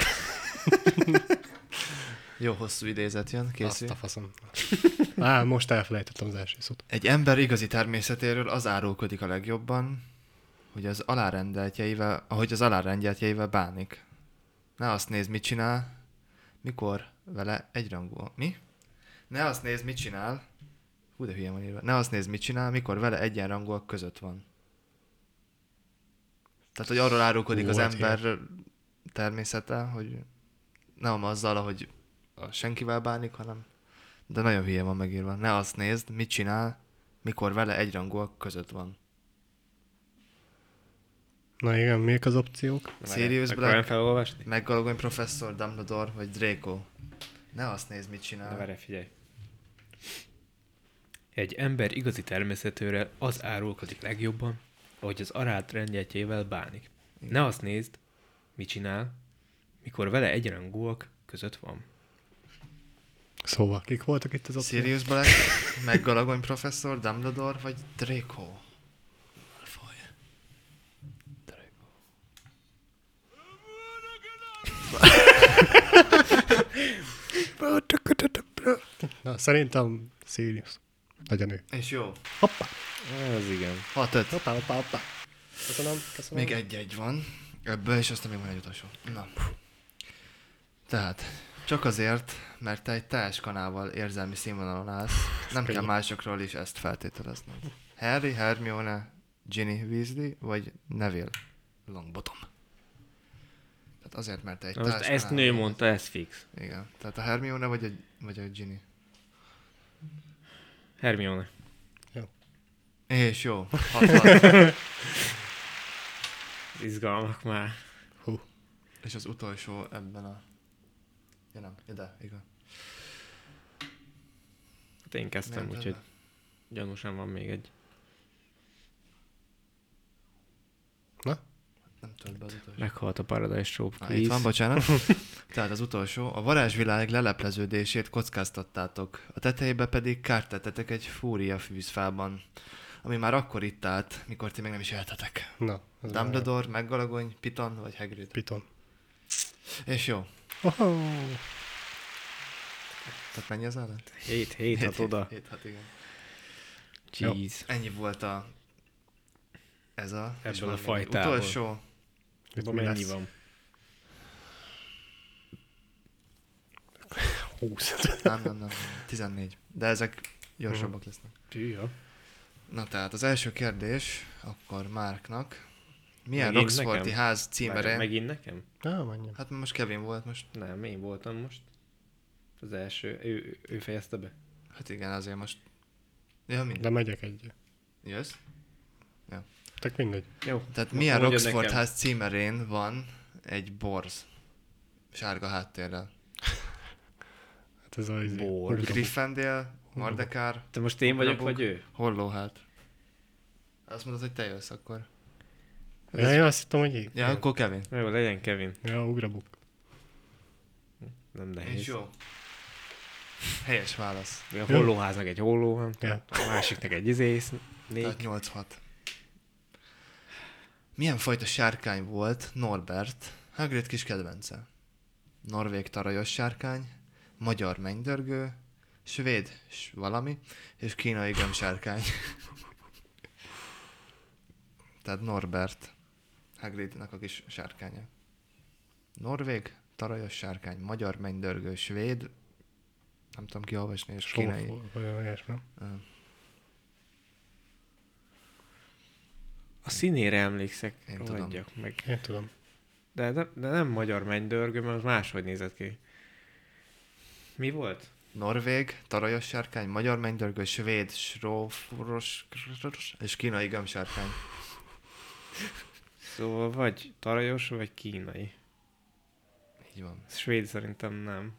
Jó hosszú idézet jön,
Azt
készül.
a faszom. Á, most elfelejtettem az első szót.
Egy ember igazi természetéről az árulkodik a legjobban, hogy az alárendeltjeivel, ahogy az alárendeltjeivel bánik. Ne azt nézd, mit csinál, mikor vele egyrangú. Mi? Ne azt nézd, mit csinál. Hú, de hülye van írva. Ne azt nézd, mit csinál, mikor vele egyenrangúak között van. Tehát, hogy arról árulkodik
Hú,
az
hát
ember természete, hogy nem azzal, ahogy a senkivel bánik, hanem de nagyon hülye van megírva. Ne azt nézd, mit csinál, mikor vele egyrangúak között van.
Na igen, mik az opciók?
Sirius
Black. Akarom
Black,
felolvasni?
McGonagall professzor, Dumbledore vagy Draco. Ne azt nézd, mit
Na
csinál.
várj, figyelj. Egy ember igazi természetőre az árulkodik legjobban, ahogy az arát rendjetjével bánik. Ne azt nézd, mit csinál, mikor vele egyenrangúak között van.
Szóval, kik voltak itt az opciók?
Sirius Black, McGonagall professzor, Dumbledore vagy Draco. Malfoy. Draco.
Na, szerintem Sirius. Nagyon ő.
És jó,
Hoppá,
Ez igen.
6 5
hoppá, hoppá, hoppá. Köszönöm, köszönöm.
Még egy-egy van ebből, és aztán még van egy utolsó. Na. Tehát, csak azért, mert te egy teljes kanával érzelmi színvonalon állsz, nem kell másokról is ezt feltételezned. Harry, Hermione, Ginny Weasley, vagy Neville Longbottom. Tehát azért, mert te egy
Na most
társkanál
ezt nő
vagy.
mondta, ez fix.
Igen. Tehát a Hermione vagy a, vagy a Ginny.
Hermione.
És jó. Hat-hat.
Az Izgalmak már.
Hú.
és az utolsó ebben a... Ja nem, ide, igen.
Hát én kezdtem,
Nem, nem,
úgyhogy
nem.
gyanúsan van még egy.
Na,
Nem tölt be az utolsó.
Meghalt a Paradise Trope
Na, itt
quiz.
van, bocsánat. Tehát az utolsó. A varázsvilág lelepleződését kockáztattátok, a tetejébe pedig kárt tettetek egy fúria fűzfában, ami már akkor itt állt, mikor ti még nem is éltetek.
na. az már
Dumbledore, Meggalagony, Piton vagy Hagrid.
Piton.
És jó.
Oho.
Tehát mennyi az állat?
7 7 hat oda.
7 hát igen.
Jó.
Jeez.
Ennyi volt a... Ez a... és
Ebből
van
a
még
fajtából.
Utolsó.
Itt mi
Mennyi
lesz?
van?
20.
Nem, nem, nem. 14. De ezek gyorsabbak lesznek.
Tűja.
Na tehát az első kérdés akkor Márknak. Milyen
Megint
Roxforti
nekem?
ház címere?
Megint nekem?
Na, mondjam.
Hát most Kevin volt most.
Nem, én voltam most. Az első, ő, ő fejezte be.
Hát igen, azért most. Ja,
De
minden.
megyek egy.
Jössz?
Tök mindegy.
Jó.
Tehát
akkor
milyen
mondja
Roxford
nekem.
ház címerén van egy borz? Sárga háttérrel.
Hát ez az izé.
Bor.
ugró.
Gryffindor, Mardekár,
Te most én vagyok,
Ugrabok.
vagy ő?
Hollóhát. hát. Azt mondod, hogy te jössz akkor.
Ja, ja, azt hittem, hogy így.
Ja, akkor Kevin.
Na Jó, legyen Kevin.
Ja, ugrabuk.
Nem
És
nehéz.
jó. Helyes válasz.
A hollóháznak egy hollóhan,
Ja.
a másiknak egy izész, négy.
Tehát 8-6. Milyen fajta sárkány Hát volt Norbert, Hagrid kis kedvence? Norvég tarajos sárkány, magyar mennydörgő, svéd s valami, és kínai gömbsárkány. Tehát Norbert Hagridnak a kis sárkánya. Norvég, tarajos sárkány, magyar mennydörgő, svéd, nem tudom kiolvasni, és kínai.
Sófó, vagy olyasmi.
A színére emlékszek,
Én tudom.
rohadjak meg.
Én tudom.
De, de, de nem magyar mennydörgő, mert az máshogy nézett ki. Mi volt?
Norvég, tarajos sárkány, magyar mennydörgő, svéd, sróforos és kínai gömbsárkány.
Szóval vagy tarajos, vagy kínai.
Így van.
Svéd szerintem nem.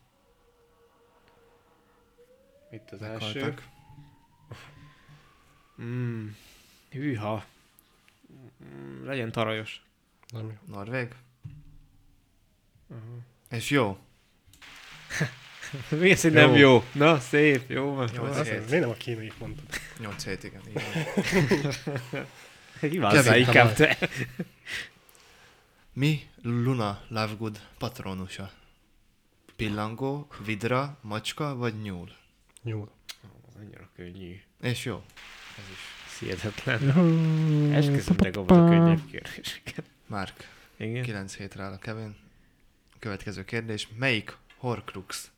Itt az első.
Meghaltak.
Mm, hűha. Mm, legyen tarajos.
Nem jó.
Norvég.
Aha.
És jó.
Miért, hogy
Jó.
nem jó? Na, szép, jó van.
Jó.
Azt
hét.
mondom, Miért nem a kínait mondtad?
8 7 igen. Így van.
Hibázzál
Kevin
inkább
Hamar.
te.
Mi Luna Lovegood patronusa? Pillangó, vidra, macska vagy nyúl?
Nyúl.
Az annyira könnyű.
És jó. Ez is.
Ez hihetetlen. Esküszöm, legalább a könnyebb kérdéseket.
Márk,
Igen.
9 hétre áll a Kevin. Következő kérdés. Melyik Horcrux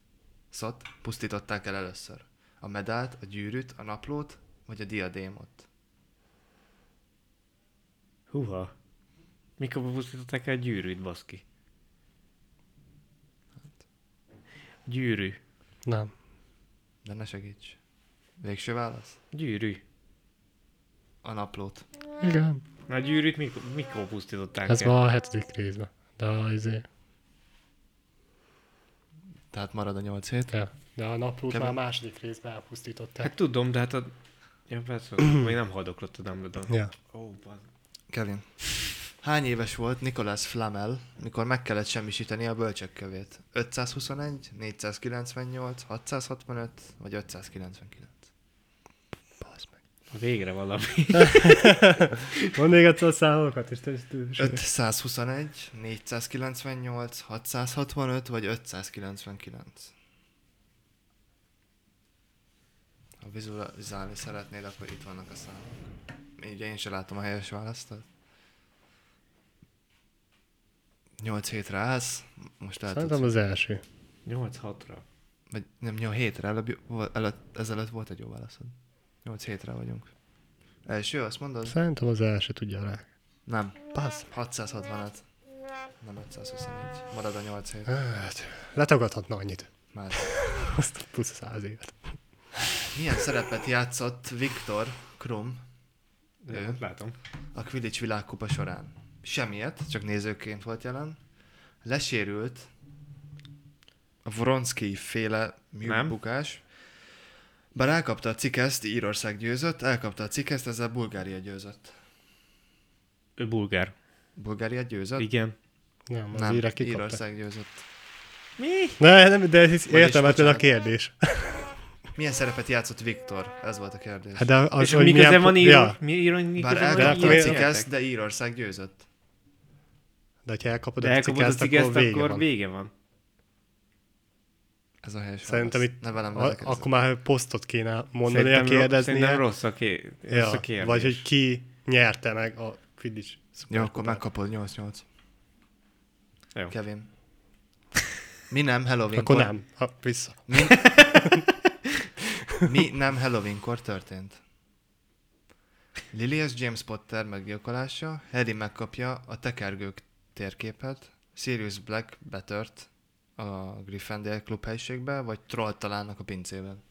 szat pusztították el először? A medált, a gyűrűt, a naplót vagy a diadémot?
Húha. Mikor pusztították el a gyűrűt, baszki? Gyűrű.
Nem.
De ne segíts. Végső válasz?
Gyűrű.
A naplót.
Igen.
Na a gyűrűt mikor, mikor pusztították
Ez
el?
ma a hetedik részben. De a, izé,
Tehát marad a 8 hét.
de, de a naplót
Kevin.
már a második részben elpusztították.
Hát tudom, de hát a... Ja, persze, még nem haldoklott a Dumbledore.
Ja.
Ó, bazd.
Kevin. Hány éves volt Nicolas Flamel, mikor meg kellett semmisíteni a bölcsekkövét? 521, 498, 665 vagy 599? Basz meg.
Végre valami.
Mondd még egyszer a számokat, és te is
521, 498, 665 vagy 599? Ha vizualizálni szeretnéd, akkor itt vannak a számok. Ugye én se látom a helyes választat. 8 hétre állsz, most el tudsz
Szerintem az első.
8-6-ra.
Vagy nem, 8 hétre előbb, vo- előtt, ezelőtt volt egy jó válaszod. 8 hétre vagyunk. Első, azt mondod?
Szerintem az első tudja rá.
Nem. Passz. 665. Nem 521. Marad a 8 hét.
Hát, letagadhatna annyit.
Már.
Azt a plusz száz évet.
Milyen szerepet játszott Viktor Krum
Ja, hát látom.
a Quidditch világkupa során? Semmiet, csak nézőként volt jelen. Lesérült a Vronski féle
Nem.
műbukás. Bár elkapta a cikeszt, Írország győzött, elkapta a cikeszt, ezzel Bulgária győzött.
Ő bulgár.
Bulgária győzött?
Igen.
Nem, az
nem,
írek kikapta.
Írország győzött.
Mi?
Ne, nem, de hisz,
Vagyis
értem, hát ez a
bocsánat.
kérdés.
Milyen szerepet játszott Viktor? Ez volt a kérdés.
Hát de az,
És
hogy
mi köze
milyen...
van
po-
író?
Ja,
Mi író? Mi
Bár
köze
de
van
elkapta
akkor
író?
a
miért
cikeszt, de Írország győzött.
de ha elkapod
De
a
elkapod a
cikeszt, akkor
cikeszt,
vége
akkor
van.
vége van.
Ez a helyes
Szerintem
válasz.
itt
Ne velem
A,
verekedjetek.
akkor már posztot kéne mondani, a
Szerintem ro- Szerintem
kérdeznie.
rossz a, ké- rossz a
Ja,
kérdés.
vagy hogy ki nyerte meg a Quidditch
Jó, akkor megkapod 8-8.
Jó.
Kevin. Mi nem Halloweenkor...
Akkor nem, ha, vissza.
Mi, mi nem Halloweenkor történt? Lilias James Potter meggyilkolása, Harry megkapja a tekergők térképet, Sirius Black betört a Gryffindor klubhelyiségbe, vagy troll találnak a pincében.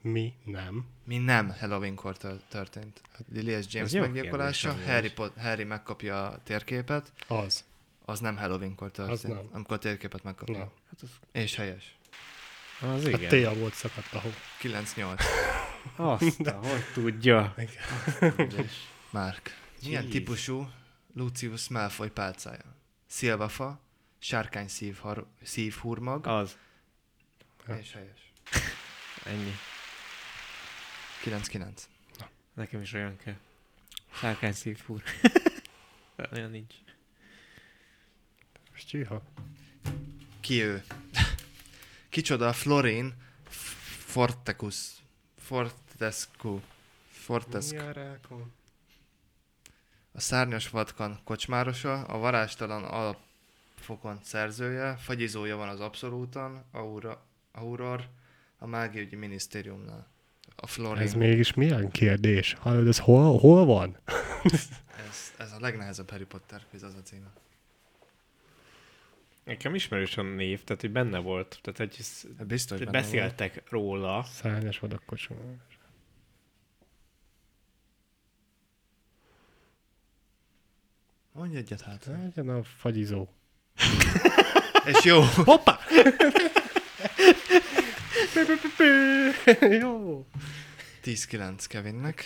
Mi nem.
Mi nem Halloweenkor tör- történt. Lilias James
jó
meggyilkolása,
kérdés,
Harry, Pot- Harry megkapja a térképet,
Az.
az nem Halloweenkor történt,
Az nem.
amikor a térképet megkapja.
Na.
Hát az,
És helyes.
az
A
igen.
tél volt szakadt a hó.
9-8.
Azt, hogy tudja.
Márk. Milyen
Jeez.
típusú Lucius Malfoy pálcája? Szilvafa, sárkány szívhar- szívhurmag,
Az. Hát.
és helyes.
Ennyi.
9-9.
Nekem is olyan kell. Sárkány szívfúr. olyan nincs.
Most csíha.
ki ő. Kicsoda a Florin Fortecus. Fortescu. Fortescu.
Járákon.
A szárnyas vatkan kocsmárosa, a varázstalan alapfokon szerzője, fagyizója van az Abszolúton, Aura, Auror, a mágiaügyi minisztériumnál. A Florin.
Ez
Ez,
mégis milyen kérdés? Hallod, ez hol, hol van?
ez, ez a legnehezebb Harry Potter quiz, az a címe.
Nekem ismerős a név, tehát hogy benne volt. Tehát, hogy ez,
Hát Biztos,
tehát
benne volt.
beszéltek róla.
Szárnyas vadakkocsma.
Mondj egyet hát.
Legyen a fagyizó.
És jó.
Hoppá! Jó.
10-9 Kevinnek.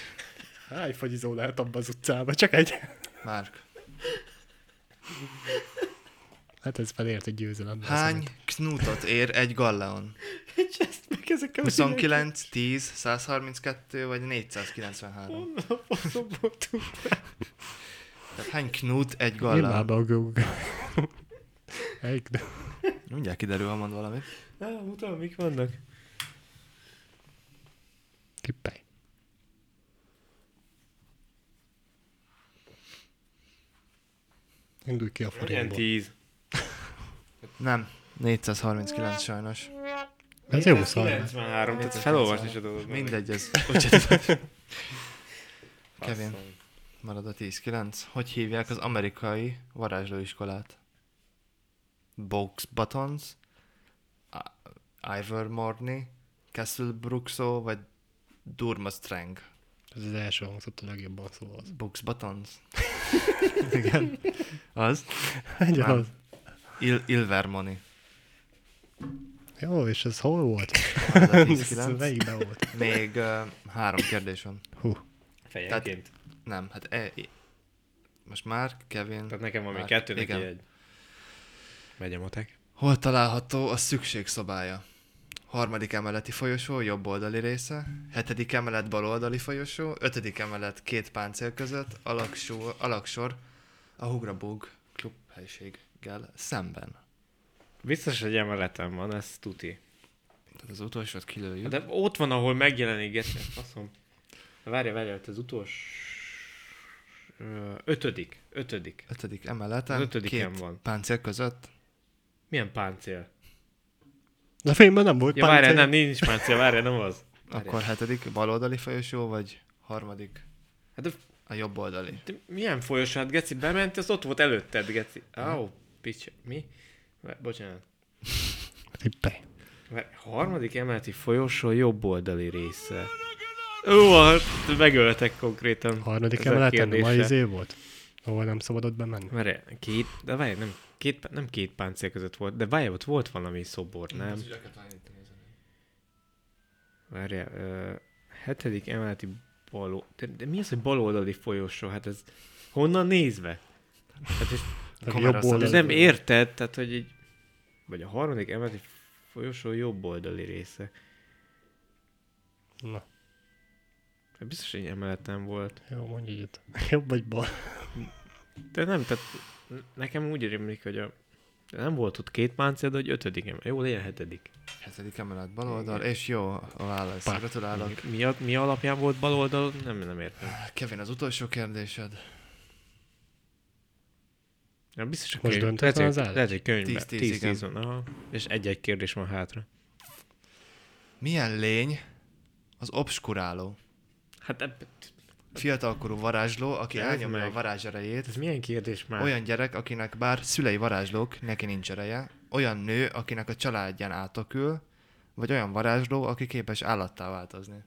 Hány fagyizó lehet abban az utcában? Csak egy.
Márk.
Hát ez felért egy győzelem.
Hány knutot ér egy galleon?
És ezt meg ezek a
29, 10, 132 vagy 493? Tehát hány knut egy
Nyilván
galleon?
a Google. Egy, de
Mindjárt kiderül, ha mond valamit.
Na, mutatom, mik vannak.
tippelj. Indulj ki a
Legyen
forintból.
tíz.
Nem, 439 sajnos.
Ez jó szar.
93, tehát felolvasni se tudod. meg.
Mindegy, ez Kevin.
Basszony.
marad a 10-9. Hogy hívják az amerikai varázslóiskolát? Box Buttons, I- Ivor Morney, Castle Bruxo vagy Durmastrang?
Ez az első hangzott a legjobban szó az.
Box Buttons. Igen. Az.
Legyen az.
Il- Ilvermoni.
Jó, és ez hol volt?
Marad a
Ez
10-9.
melyikben volt?
Még uh, három kérdés van.
Hú.
Fejenként.
Nem, hát e, e- most már Kevin...
Tehát nekem van még
már-
kettő, neki
igen.
egy. hát Megy a matek.
Hol található a szükségszobája? Harmadik emeleti folyosó, jobb oldali része, hetedik emelet, bal oldali folyosó, ötödik emelet, két páncél között, alaksó, alaksor, a Hugrabug klub helyiséggel szemben.
Biztos, hogy emeletem van, ez tuti.
Tehát az utolsót kilőjük.
De ott van, ahol megjelenik Getszer, faszom. Várja, várja, ott az utolsó... Ö, Ötödik, ötödik.
Ötödik emeleten,
Az ötödiken
két
van.
páncél között,
Milyen páncél?
De a filmben nem volt
Ja, várja, nem, nincs páncél, várja, nem az. Várjál.
akkor hetedik bal oldali folyosó, vagy harmadik
Hát de,
a jobb oldali.
de milyen folyosó? Hát Geci bement, az ott volt előtted, Geci. Au, picsa, mi? Vá- Bocsánat.
Tippelj.
Várj, Harmadik emeleti folyosó jobb oldali része. Ó, hát megöltek konkrétan.
A harmadik
ezzel
emeleten ma
kérdéssel.
izé volt, ahol nem szabadott bemenni.
Várj, két, de várj, nem, két, pá- nem két páncél között volt, de várj, ott volt valami szobor, nem? Várj, ö, hetedik emeleti bal, de, de, mi az, hogy baloldali folyosó? Hát ez honnan nézve? Hát és,
Tehát
Kameraszám.
jobb oldali.
ez nem érted, tehát hogy így, vagy a harmadik emeleti folyosó jobb oldali része.
Na,
Biztos, hogy emelet nem volt.
jó, mondj egyet. Jobb vagy bal.
De nem, tehát nekem úgy rémlik, hogy a, de nem volt ott két páncél, de hogy ötödik emelet. Jó, legyen hetedik.
Hetedik emelet bal oldal, és jó a válasz.
Pá.
Gratulálok.
Mi, mi, a- mi alapján volt bal oldal? Nem, nem értem.
Kevin, az utolsó kérdésed.
Nem, biztos, hogy
Most
könyv-
döntött
lehet,
el
hogy-
az állás?
Lehet, hogy könyvben.
10-10,
10-10,
igen.
van, aha. És egy-egy kérdés van hátra.
Milyen lény az obskuráló?
Hát ebb-
Fiatalkorú varázsló, aki
Ez
elnyomja
meg.
a varázs erejét.
ez milyen kérdés már?
Olyan gyerek, akinek bár szülei varázslók, neki nincs ereje. Olyan nő, akinek a családján átokül. Vagy olyan varázsló, aki képes állattá változni.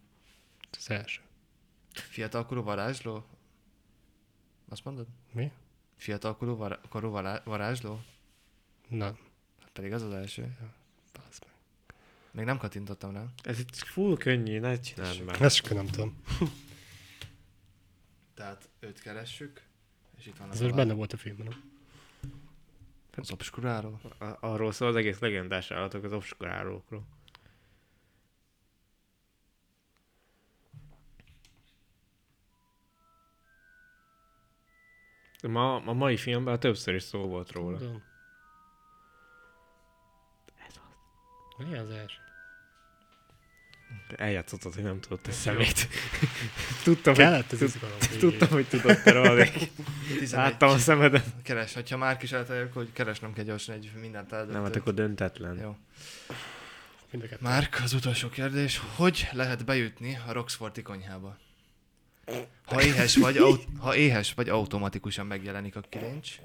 Az első.
Fiatalkorú varázsló? Azt mondod?
Mi?
Fiatalkorú var- korú vará- varázsló?
Na,
Hát pedig az az első.
pász meg.
Még nem kattintottam rá.
Ez itt full könnyű, ne csináld már.
Ezt csak nem tudom.
Tehát őt keressük, és itt van
Ez
az,
most
az,
benne volt a filmben, nem?
az obskuráló.
A- Arról szól az egész legendás állatok, az obskurálókról. Ma, a mai filmben többször is szó volt róla.
Tudom.
Mi az első? Te eljátszottad, hogy nem tudod te szemét. tudtam,
Kellett az
hogy,
izgalom.
tud,
végén.
tudtam, hogy tudod te róla, de
11.
láttam a szemeden.
Keres, hogyha már is eltalálja, akkor keresnem kell gyorsan egy mindent eldöntött.
Nem, hát akkor döntetlen.
Jó.
Mind a kettő.
Márk, az utolsó kérdés. Hogy lehet bejutni a Roxforti konyhába? Ha éhes vagy, au- ha éhes vagy automatikusan megjelenik a kilincs.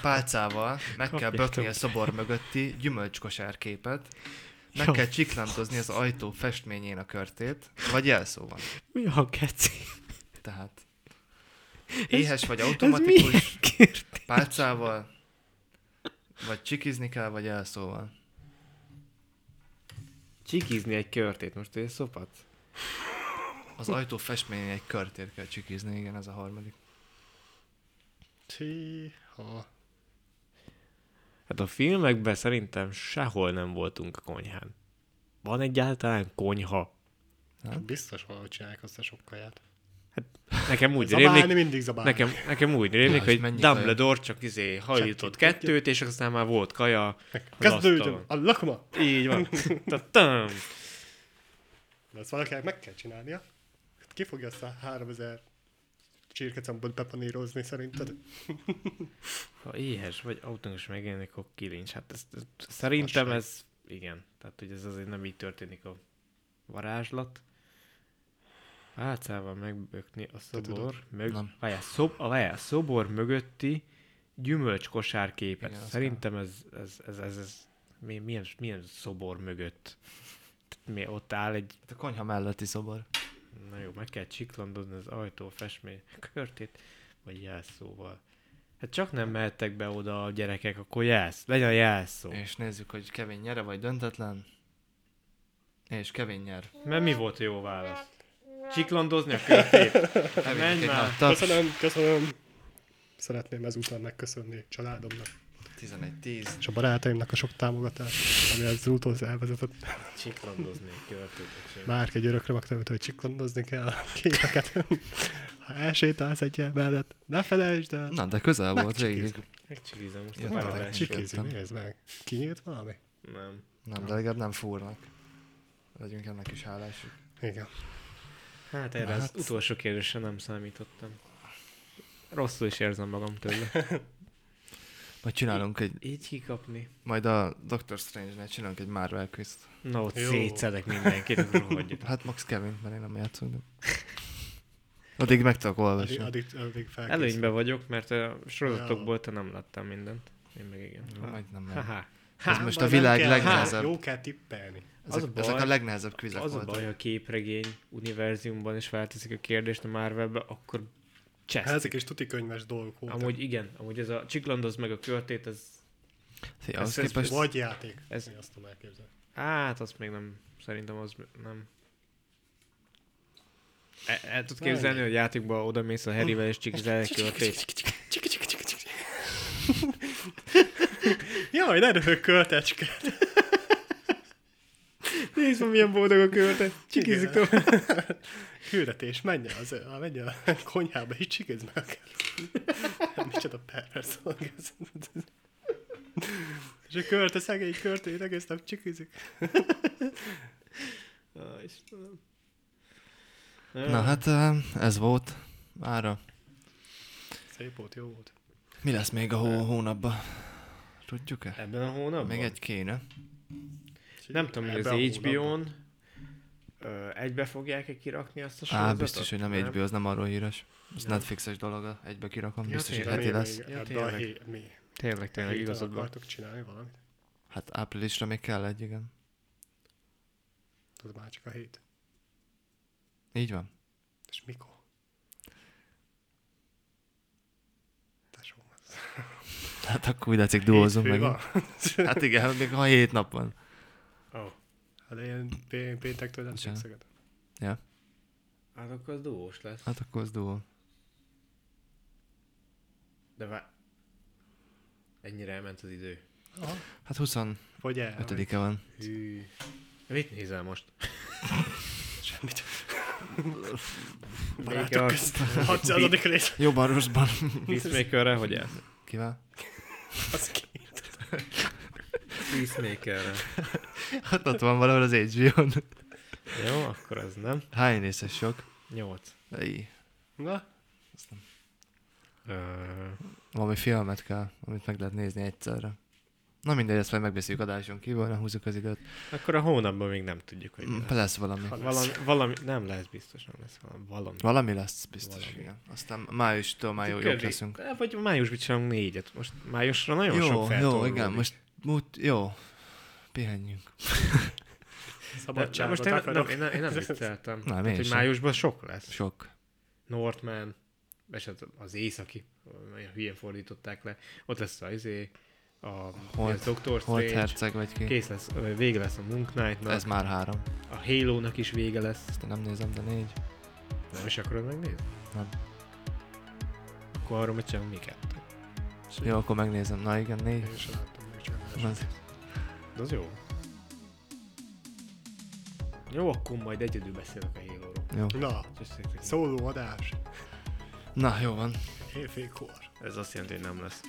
Pálcával meg kell
Kapjátok.
bökni a szobor mögötti gyümölcskosár képet. Meg
Jó.
kell csiklantozni az ajtó festményén a körtét, vagy jelszó van.
Mi a keci?
Tehát éhes vagy
Ez
automatikus,
milyen kérdés?
pálcával, vagy csikizni kell, vagy jelszóval.
Csikizni egy körtét, most ugye szopat?
Az ajtó festményén egy körtét kell csikizni, igen, ez a harmadik.
Csiha.
Hát a filmekben szerintem sehol nem voltunk a konyhán. Van egyáltalán konyha?
Biztos valahogy csinálják azt a sok kaját.
Nekem úgy
Zabálni
rémlik,
mindig zabálni.
nekem, nekem úgy rémlik,
és
hogy
mennyi
Dumbledore csak izé hajított kettőt, és aztán már volt kaja.
Kezdődjön
asztalon.
a lakoma.
Így van. Tatam.
De ezt valakinek meg kell csinálnia. Hát Ki fogja azt a 3000 csirkecombot bepanírozni szerinted?
Ha éhes vagy autós megjelenik, akkor kilincs. Hát ez, ez, szerintem
Fasság.
ez, igen. Tehát, hogy ez azért nem így történik a varázslat. Álcával megbökni a
tudod.
szobor, mög...
Nem.
várjál, szob... a, várjál, szobor mögötti gyümölcskosár képet.
Igen,
Igen,
azt
szerintem ez, ez, ez, ez, ez mi- milyen, milyen szobor mögött? Tehát mi ott áll egy
Hát a konyha melletti szobor.
Na jó, meg kell csiklandozni az ajtó festmény körtét, vagy jelszóval. Hát csak nem mehettek be oda a gyerekek, akkor jelsz, legyen jelszó.
És nézzük, hogy Kevin nyere vagy döntetlen. És Kevin nyer.
Mert mi volt a jó válasz? Ciklandozni a körtét?
Kevin
Hát Menj
egy
már!
nagy taps.
Köszönöm, köszönöm. Szeretném ezúttal megköszönni családomnak
11-10.
és a barátaimnak a sok támogatást, ami az úthoz elvezetett.
Ciklandozni a körtét. öcsém.
Már egy örökre megtanult, hogy csiklandozni kell a képeket. ha elsétálsz egy ilyen mellett, ne felejtsd el.
Na, de közel volt végig.
Megcsikizem most
Ja,
a
tényleg.
paralelst.
Csik-
Csikézi,
értem.
nézd meg. Kinyílt valami?
Nem.
Nem, de legalább nem fúrnak. Legyünk ennek is hálások.
Igen.
Hát erre az
Hát-
utolsó kérdésre nem számítottam. Rosszul is érzem magam tőle.
Majd csinálunk egy,
Így kikapni.
majd a Doctor Strange-nél csinálunk egy Marvel quiz
Na ott
Jó.
szétszedek mindenkit, az rohadjon.
Hát Max Kevin, mert én nem játszom. De... Addig meg tudok
Addig,
olvasni.
addig, addig felkészül.
Előnyben vagyok, mert a sorozatokból te nem láttál mindent. Én meg igen.
Jó, Majd nem meg.
Haha.
Ez most a
Baj, nem
világ
kell. Hát,
legnehezebb.
Jó kell tippelni.
az a
Ezek,
baj-
ezek a legnehezebb kvizek
Az a
voltak.
baj, ha képregény univerzumban is felteszik a kérdést a Marvelbe, akkor
Hát
csesz.
Ezek is tuti könyves dolgok voltak.
Amúgy igen, amúgy ez a ciklandoz meg a körtét, ez,
Fia, ahhoz
Ez- ez
képest
Vagy játék.
Ez-
Ez... Azt tudom elképzelni.
hát azt még nem, szerintem az nem. El, el tudod
Nem.
képzelni, hogy játékban oda mész a Harryvel és csikizel egy körtét?
Jaj, ne röhög költecske.
Nézd ma milyen boldog a körte,
Csikizik
csikizik tovább.
Küldetés, menj el, az, a- menj el a konyhába, és csikézd meg a kert. Micsoda pervers dolog ez. És a körte, szegény körtét egész nap csikizik.
Na hát eh, ez volt. Ára.
Szép volt, jó volt.
Mi lesz még a hó- hónapban? Tudjuk-e?
Ebben a hónapban?
Még egy kéne.
Nem tudom, hogy az
Ebben a hónapban.
HBO-n ö, egybe fogják-e kirakni azt a
Á,
sorozatot?
biztos, hogy nem HBO, az nem arról híres. Ez
Nem.
Netflixes dolog, a- egybe kirakom,
Ja,
biztos, hogy
tényleg.
heti lesz.
Még
Ja,
ebbe a
tényleg.
hé- mi?
Tényleg, tényleg
Héten
igazad van.
Akartok csinálni valamit?
Hát áprilisra még kell egy, igen.
Tudod, már csak a hét.
Így van.
És mikor? Tesóm.
Hát akkor úgy látszik, duózunk
Hétfő
meg. Hát igen, még ha hét nap van.
Oh.
Hát én, én péntektől nem
Bocsánat.
szeged.
Hát akkor az dúós lesz.
Hát akkor az duó.
De vár... Ennyire elment az idő.
Hát 25-e
Vagy el. vagy-
van.
Hű. Mit nézel most?
Semmit.
Barátok
közt. 600. rész.
Jobban rosszban.
Peacemakerre vagy el?
Kivel?
Az két.
Peacemakerre.
Hát ott van valahol az HBO-n.
Jó, akkor ez nem.
Hány részes sok?
Nyolc.
Ej,
Na,
Ö,
valami filmet kell, amit meg lehet nézni egyszerre. Na mindegy, ezt majd megbeszéljük adáson kívül, nem húzzuk az időt.
akkor a hónapban még nem tudjuk, hogy mi
Mm,
lesz.
Lesz valami.
Valami, valami, nem lesz biztos, nem lesz valami. valami.
Valami lesz, biztos,
Valami.
igen. Aztán májustól már jó, jók
Kérdi-
leszünk.
Eh, Vagy májusban csinálunk négyet. Most májusra nagyon sok
Jó, jó,
feltorlódik.
igen, most, most jó, pihenjünk.
De, de
szabadságot
most
de,
én,
de
nem,
akarok.
én, nem, én nem vicceltem.
én
Tehát, hogy
sem.
májusban sok lesz.
Sok.
Northman, és az, az északi, olyan hülyén fordították le. Ott lesz az izé, a
Holt-
Holt, Doctor
Holt
Strange,
herceg vagy ki.
kész lesz, ö, vége lesz a Moon Knight-nak,
Ez már három.
a Halo-nak is vége lesz.
Ezt én nem nézem, de négy.
Nem is akarod megnézni?
Nem.
Akkor arról mit csinálunk mi kettő?
Jó, akkor megnézem. Na igen, négy.
Én sem láttam még csak.
Az-
De az jó. Jó, akkor majd egyedül beszélek a Halo-ról.
Jó.
Na,
Köszönjük.
szóló adás,
Na, jó van.
hétfékkor.
Ez azt jelenti, hogy nem lesz.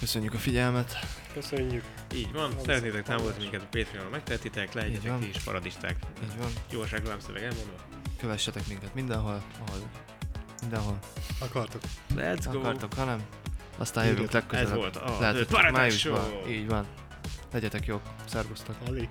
Köszönjük a figyelmet.
Köszönjük.
Így van,
Valószínű-
szeretnétek támogatni minket a Patreon-on, megtehetitek,
Így van.
legyetek ti is paradisták.
Így van.
Gyors reklámszöveg elmondva.
Kövessetek minket mindenhol, ahol mindenhol
Akartok.
Let's go!
akartok, hanem aztán jövünk
Írjatok.
legközelebb.
Ez volt a
Lehet,
The Paradise Show.
májusban. Így van. Legyetek jók. Szervusztok.
Ali.